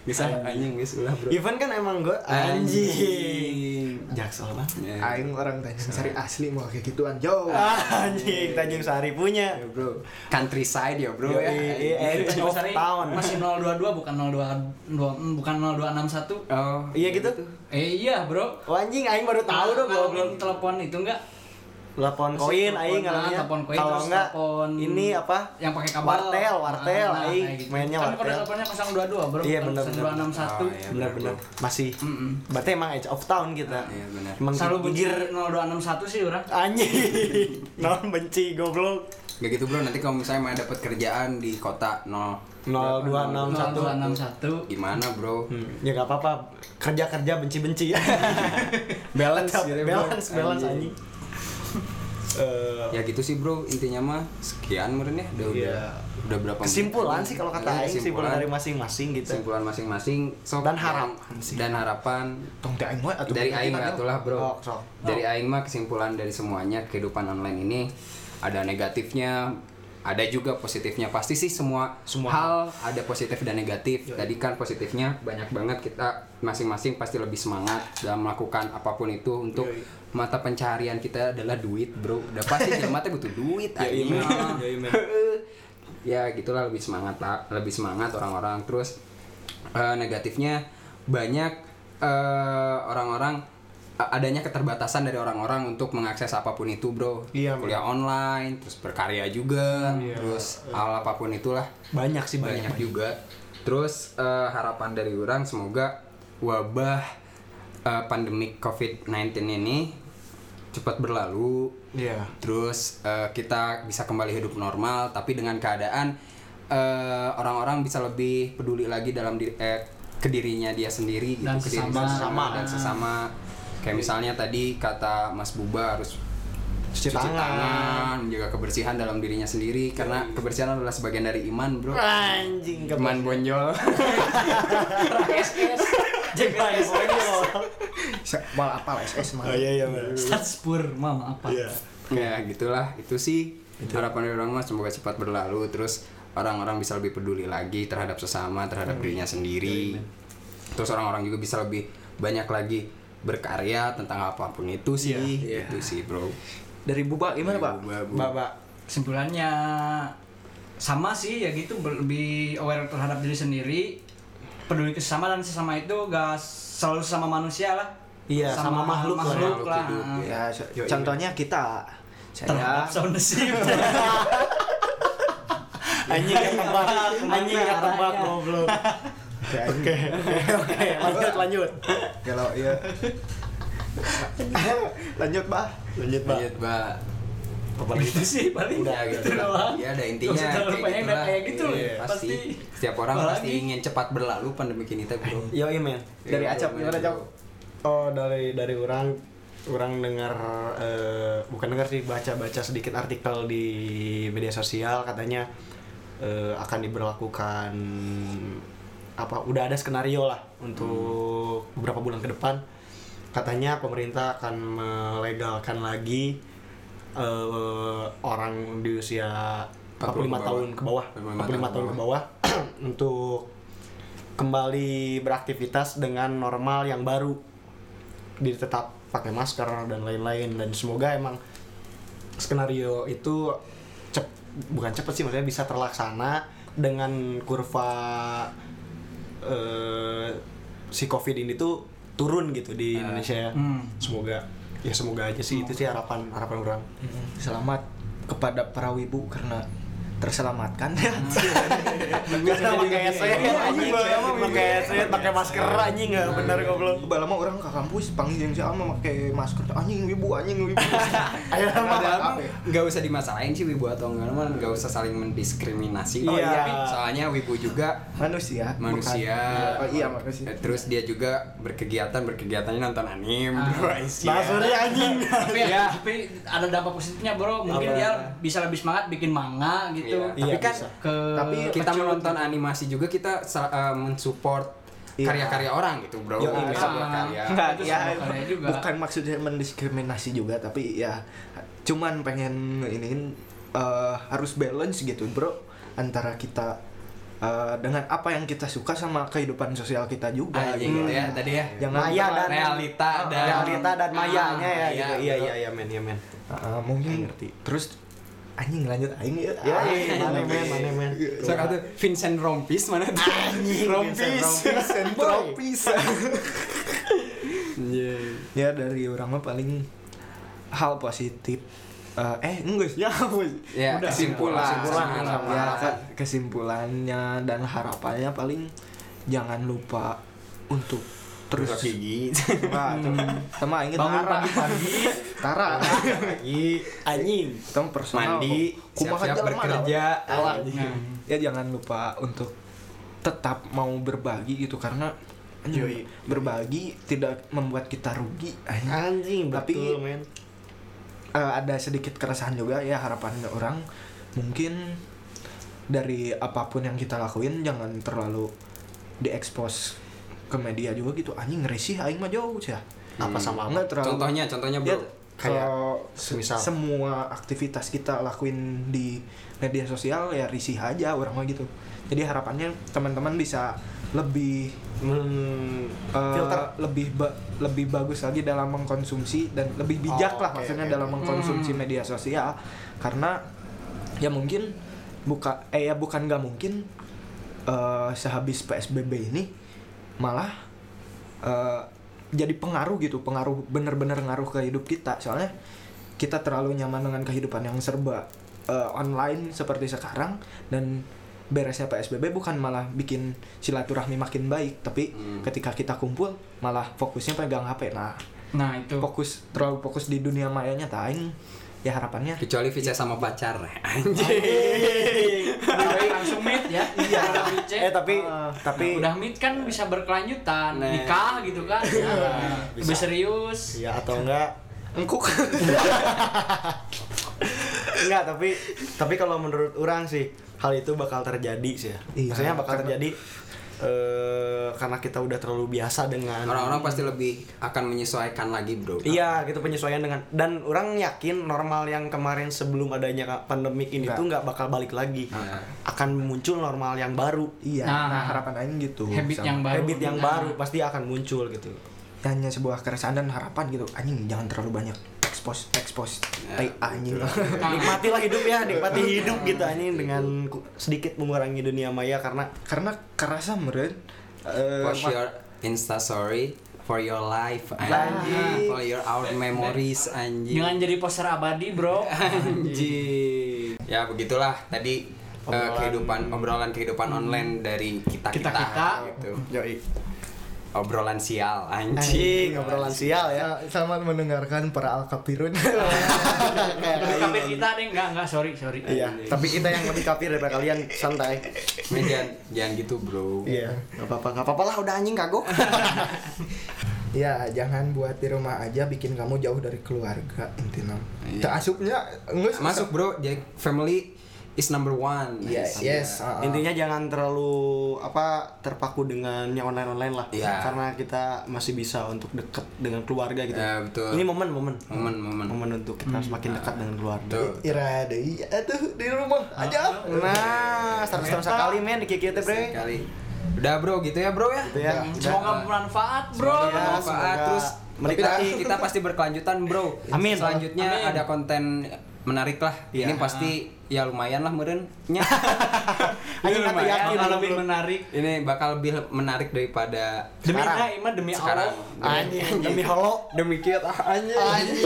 A: bisa anjing guys ulah bro.
D: Ivan kan emang gue anjing. Jaksel banget.
A: Ya,
B: Aing orang Tanjung Sari asli mau kayak gituan. Yo.
D: Ah, anjing Tanjung Sari punya.
A: ya, bro. Countryside ya bro
D: Yo,
A: ya.
D: iya, iya,
A: anjing.
D: iya.
C: Tanjung Sari
D: Tahun.
C: masih 022 bukan 02 mm, bukan 0261.
A: Oh
D: Iya gitu.
C: Eh iya, Bro.
D: Oh anjing aing baru tahu dong
C: kalau
D: goblok.
C: telepon itu enggak
D: Telepon
C: Terus
D: koin
C: telepon,
D: aing
C: ah,
D: ngalangnya.
C: telepon koin,
D: Kalau
C: terus
D: enggak
C: telepon
D: ini apa?
C: yang pakai kabel.
D: Wartel, wartel
C: Nah, nah,
D: aing
C: kayak gitu.
D: mainnya
C: kan kode
D: wartel.
C: teleponnya 022, Bro.
D: Iya, Ah,
C: bukan
D: benar, benar.
A: Oh,
C: 0261.
A: iya.
D: Benar-benar masih. Berarti emang edge of town kita.
A: Iya, benar.
D: Emang
C: Ah,
D: gitu.
C: Selalu benci
D: gigir
C: 0261 sih orang.
D: anjing. Non benci goblok.
A: Gak gitu bro. Nanti kalau misalnya mau dapat kerjaan di kota nol
D: 0261. Iya.
C: 0261.
A: gimana bro?
D: Hmm, ya nggak apa-apa kerja-kerja benci-benci balance
C: iya,
A: gitu, bro.
D: balance balance anjing Eh,
A: Ya gitu sih bro. Intinya mah sekian meren ya. Udah
D: Iya.
A: udah udah berapa? menit?
D: kesimpulan sih kalau
A: Iya,
D: kata Aing kesimpulan dari
A: kesimpulan-
D: masing-masing gitu
A: kesimpulan masing-masing sok
D: Dan harapan sih.
A: dan harapan
B: Tong teh aing wae atuh.
A: dari aing
B: Kita,
A: nggak tuh lah bro
D: Oh, sok.
A: dari aing mah kesimpulan dari semuanya kehidupan online ini ada negatifnya ada juga positifnya pasti sih semua,
D: Semua.
A: hal ada positif dan negatif tadi kan positifnya banyak banget kita masing-masing pasti lebih semangat dalam melakukan apapun itu untuk mata pencaharian kita adalah duit bro udah pasti jelema teh butuh duit anjing. ya gitulah lebih semangat lah lebih semangat orang-orang terus eh, negatifnya banyak eh, orang-orang a- adanya keterbatasan dari orang-orang untuk mengakses apapun itu bro
D: Iya,
A: kuliah online terus berkarya juga terus hal apapun itulah
D: banyak sih
A: iya. banyak,
D: banyak,
A: juga. Terus eh, harapan dari orang semoga wabah eh, pandemi COVID-19 ini cepat berlalu.
D: Iya.
A: Terus eh, kita bisa kembali hidup normal tapi dengan keadaan eh, orang-orang bisa lebih peduli lagi dalam diri eh, ke dirinya dia sendiri gitu,
C: Dan
A: ke diri
C: sesama.
A: dan sesama. Kayak misalnya tadi kata Mas Buba harus
D: cuci tangan
A: menjaga kebersihan dalam dirinya sendiri karena kebersihan adalah sebagian dari iman, Bro.
D: anjing
A: Iman
D: keman
A: bonjol.
C: SS.
D: Jekai bonyol.
B: Se- Mal apal SS mah.
D: oh iya iya bener.
C: Statspur, mama apa?
D: Iya.
A: ya, gitulah. Itu sih harapan dari orang mah semoga cepat berlalu terus orang-orang bisa lebih peduli lagi terhadap sesama, terhadap dirinya sendiri. Terus orang-orang juga bisa lebih banyak lagi berkarya tentang apapun itu sih.
D: Iya.
A: Itu sih, Bro.
B: Dari Buba gimana, Pak?
D: mbak mbak
C: kesimpulannya sama sih ya gitu ber- lebih aware terhadap diri sendiri peduli ke sesama dan sesama itu gak selalu sama manusia lah
D: Iya, sama makhluk lah.
C: makhluk
A: Makhluk
C: lah, Ah,
A: hidup, ya.
B: Ya, so-
D: Yo, iya.
B: contohnya kita.
C: terhadap
B: Saya
C: sound system
D: anjing ketebak anjing
C: Kemana
D: ketebak
C: arahnya?
D: goblok
B: Ya, anjing.
D: oke oke lanjut lanjut
B: kalau ya lanjut, Pak.
D: lanjut Iya, mbak
A: Lanjut, Iya, Mbak.
D: apa lagi
C: gitu sih paling
A: Udah gitu
C: gitu
A: lah.
C: doang
A: Ya ada intinya
C: Gak usah terlalu
A: kayak
C: banyak,
A: gitulah.
C: kayak gitu
A: Iya,
C: loh,
A: pasti. Setiap orang
C: Apalagi?
A: pasti ingin cepat berlalu pandemi ini teh, Bro.
D: Yo men.
B: Dari
A: Iya,
B: Acap
A: bro,
B: gimana,
A: iya,
B: Acap?
A: bro.
D: Oh dari dari orang orang dengar eh, bukan dengar sih baca-baca sedikit artikel di media sosial katanya eh, akan diberlakukan apa udah ada skenario lah untuk beberapa bulan ke depan katanya pemerintah akan melegalkan lagi eh, orang di usia
A: 40 ke
D: 45
A: bawah.
D: tahun ke bawah 45 tahun ke bawah untuk kembali beraktivitas dengan normal yang baru Jadi tetap pakai masker dan lain-lain dan semoga emang skenario itu cep bukan cepet sih maksudnya bisa terlaksana dengan kurva eh, si covid ini tuh turun gitu di Indonesia ya
C: hmm.
D: semoga ya semoga aja sih itu sih harapan harapan orang
B: Selamat kepada para wibu karena terselamatkan ya.
D: Karena pakai headset,
B: Iya,
D: anjing,
B: iya,
D: pakai
B: iya.
D: pakai headset, pakai masker anjing nggak bener goblok.
B: Udah lama orang ke kampus panggil yang sama pakai masker anjing wibu anjing wibu.
D: Ayo
A: Karena
D: mah.
A: ada apa?
B: ya?
A: Nggak usah dimasalahin sih wibu atau enggak, mah nggak usah saling mendiskriminasi.
D: Oh, iya.
A: Soalnya wibu juga
B: Manusia. bukan-
A: manusia.
B: Oh iya manusia.
A: Eh, Terus dia juga berkegiatan berkegiatannya nonton anime.
C: Ah.
A: bro, Aisyah.
D: Basurnya anjing.
C: tapi,
A: Iya.
C: tapi ada dampak positifnya bro mungkin
D: Apa?
C: dia bisa lebih semangat bikin manga gitu
A: Iya.
D: Iya,
A: Tapi kan
D: bisa.
C: ke
B: Tapi
A: kita menonton animasi juga kita sa- eh, mensupport
B: Iya.
A: karya-karya orang gitu bro.
D: Yo,
A: Ini
D: iya.
A: sebuah karya.
B: Enggak,
C: Itu
B: ya,
C: sama karya juga.
B: bukan maksudnya mendiskriminasi juga, tapi ya cuman pengen ini eh, harus balance gitu, bro, antara kita eh, dengan apa yang kita suka sama kehidupan sosial kita juga.
A: Anjing
B: gitu.
A: gitu ya tadi ya.
B: Jangan
D: Maya dan
A: realita dan
D: Oh, realita dan mayanya ya.
A: Ah, iya,
D: gitu. Iya iya iya men iya men.
B: Ah, mungkin terus anjing lanjut aing ya.
D: Ya
B: Ah,
D: iya, mana men mana men.
A: So, kata Vincent Rompis mana tuh?
D: Anjing,
A: Rompis.
D: Vincent Rompis.
A: Boy. Rompis. Iya.
B: ya dari orang mah paling hal positif Eh, eh enggak sih ya apa sih?
A: Ya, kesimpulan.
B: kesimpulan,
A: Kesimpulan.
B: sama-
A: Ya,
B: ya, kesimpulannya dan harapannya paling jangan lupa untuk terus
A: Terus gigi.
B: Wah, sama inget
C: Bangun
B: Tara Tara
D: Lagi anjing.
B: Tem personal
A: Mandi,
B: kumaha
A: siap-siap
B: jelema dah.
A: bekerja.
B: Alah. ya jangan lupa untuk tetap mau berbagi gitu karena
D: Yoi.
B: anjing, berbagi tidak membuat kita rugi anjing.
D: Anjing
B: Tapi-
D: betul men.
B: Eh, ada sedikit keresahan juga ya harapannya orang mungkin dari apapun yang kita lakuin jangan terlalu diekspos ke media juga gitu anjing ngerisih aing mah jauh sih ya
D: Apa sama apa?
B: Nggak terlalu
A: Contohnya, contohnya
B: ya,
A: bro.
D: Kayak
B: kalau
D: semisal.
B: semua aktivitas kita lakuin di media sosial ya risih aja orang mah gitu jadi harapannya teman-teman bisa lebih
D: Men-
B: eh,
D: filter
B: lebih ba- lebih bagus lagi dalam mengkonsumsi dan lebih bijak
D: Oh,
B: lah
D: oke,
B: maksudnya
D: oke.
B: dalam mengkonsumsi media sosial karena ya mungkin buka eh ya bukan nggak mungkin eh, sehabis psbb ini malah eh, jadi pengaruh gitu pengaruh bener-bener ngaruh ke hidup kita soalnya kita terlalu nyaman dengan kehidupan yang serba eh, online seperti sekarang dan beresnya psbb bukan malah bikin silaturahmi makin baik tapi
A: Hmm.
B: ketika kita kumpul malah fokusnya pegang hp nah
C: nah itu
B: fokus terlalu fokus di dunia mayanya taing ya harapannya
A: Kecuali Vincent sama pacar. Anjing.
C: Lebih baik langsung meet ya iya
D: Eh tapi
B: Ah,
D: tapi
C: udah meet kan bisa berkelanjutan
A: Nah.
C: nikah gitu kan Nah,
D: Iya, Bisa.
C: lebih serius
D: ya atau enggak
B: engkuk
D: Enggak, tapi tapi kalau menurut orang sih hal itu bakal terjadi sih. Ya.
B: Iya,
D: Maksudnya bakal
B: karena-
D: terjadi eh, karena kita udah terlalu biasa dengan
A: Orang-orang pasti lebih akan menyesuaikan lagi bro.
D: Iya, gitu penyesuaian dengan dan orang yakin normal yang kemarin sebelum adanya ka- pandemik ini
B: Enggak.
D: tuh nggak bakal balik lagi.
A: Iya.
D: Akan muncul normal yang baru.
B: iya
C: Nah.
B: nah, harapan aing gitu
C: habit
B: Sama-
C: yang baru
D: Iya, Habit yang
C: Nah,
D: baru pasti akan muncul gitu.
B: hanya sebuah keresahan dan harapan gitu anjing jangan terlalu banyak expose expose tai anjing
C: Nah,
D: Nikmatilah hidup ya, nikmati hidup gitu anjing dengan ku- sedikit mengurangi dunia maya karena
B: karena kerasa meren eh,
A: Post your Insta story for your life
D: Anjing.
A: anjing. For your our memories anjing.
C: jangan jadi poster abadi bro
A: Anjing. Ya begitulah tadi eh,
D: Obrolan. Hmm.
A: kehidupan obrolan kehidupan online dari kita kita,
C: Kita-kita.
A: gitu.
D: Yoi.
A: Obrolan sial anjing.
D: Anjing, obrolan sial ya.
B: ma- selamat mendengarkan para alkapirun
C: tapi kampir kita deh enggak enggak sorry sorry
D: Iya, tapi kita yang lebih kafir daripada kalian, santai.
A: Men, jangan, jangan gitu bro.
D: Iya, nggak apa-apa, nggak apa-apa lah, udah anjing kagok.
B: ya jangan buat di rumah aja bikin kamu jauh dari keluarga intinya
A: Iya.
B: tak asupnya nges
A: Masuk bro, jadi family is number one.
B: Yes,
A: Iya.
B: yes. ah, ah.
D: Intinya jangan terlalu apa terpaku dengan yang online-online lah.
A: Iya.
D: Karena kita masih bisa untuk dekat dengan keluarga gitu.
A: Ya, betul.
D: Ini momen-momen.
A: Momen-momen.
D: Momen untuk kita semakin dekat dengan keluarga.
A: Tuh.
B: Ira deui atuh di rumah aja.
D: Nah, seratus seratus sekali men di Kiki teh, Bre.
A: Sekali. Udah bro gitu ya bro ya.
D: Gitu ya.
C: Semoga bermanfaat, Bro.
A: Bro,
D: Semoga-
A: bermanfaat. terus
D: menikmati.
A: kita, kita pasti berkelanjutan bro.
D: Amin.
A: Selanjutnya
C: Amin.
A: ada konten menarik lah. Ini pasti ya lumayan lah merennya.
D: Ayo
C: Ini
D: nanti
C: lumayan,
D: yakin
C: bakal
D: belum,
C: lebih
D: belum.
C: menarik.
A: Ini bakal lebih menarik daripada
C: Demi
A: sekarang.
C: nah, Ima demi
A: Sekarang.
C: Allah.
D: Anjing, Ah, demi holo.
A: Demi kita aja.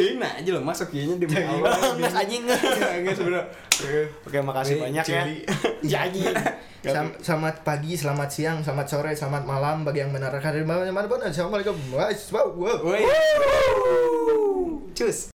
A: Ini aja lo masuk kayaknya demi Allah.
D: Nges anjing.
A: Enggak sebenarnya.
D: Oke, makasih
A: Wih,
D: banyak ya.
A: ciri.
D: Jadi.
B: Sam- selamat pagi, selamat siang, selamat sore, selamat malam bagi yang mendengarkan dari mana-mana pun. Assalamualaikum. Wah, wow, wow.
A: Woi. Cus.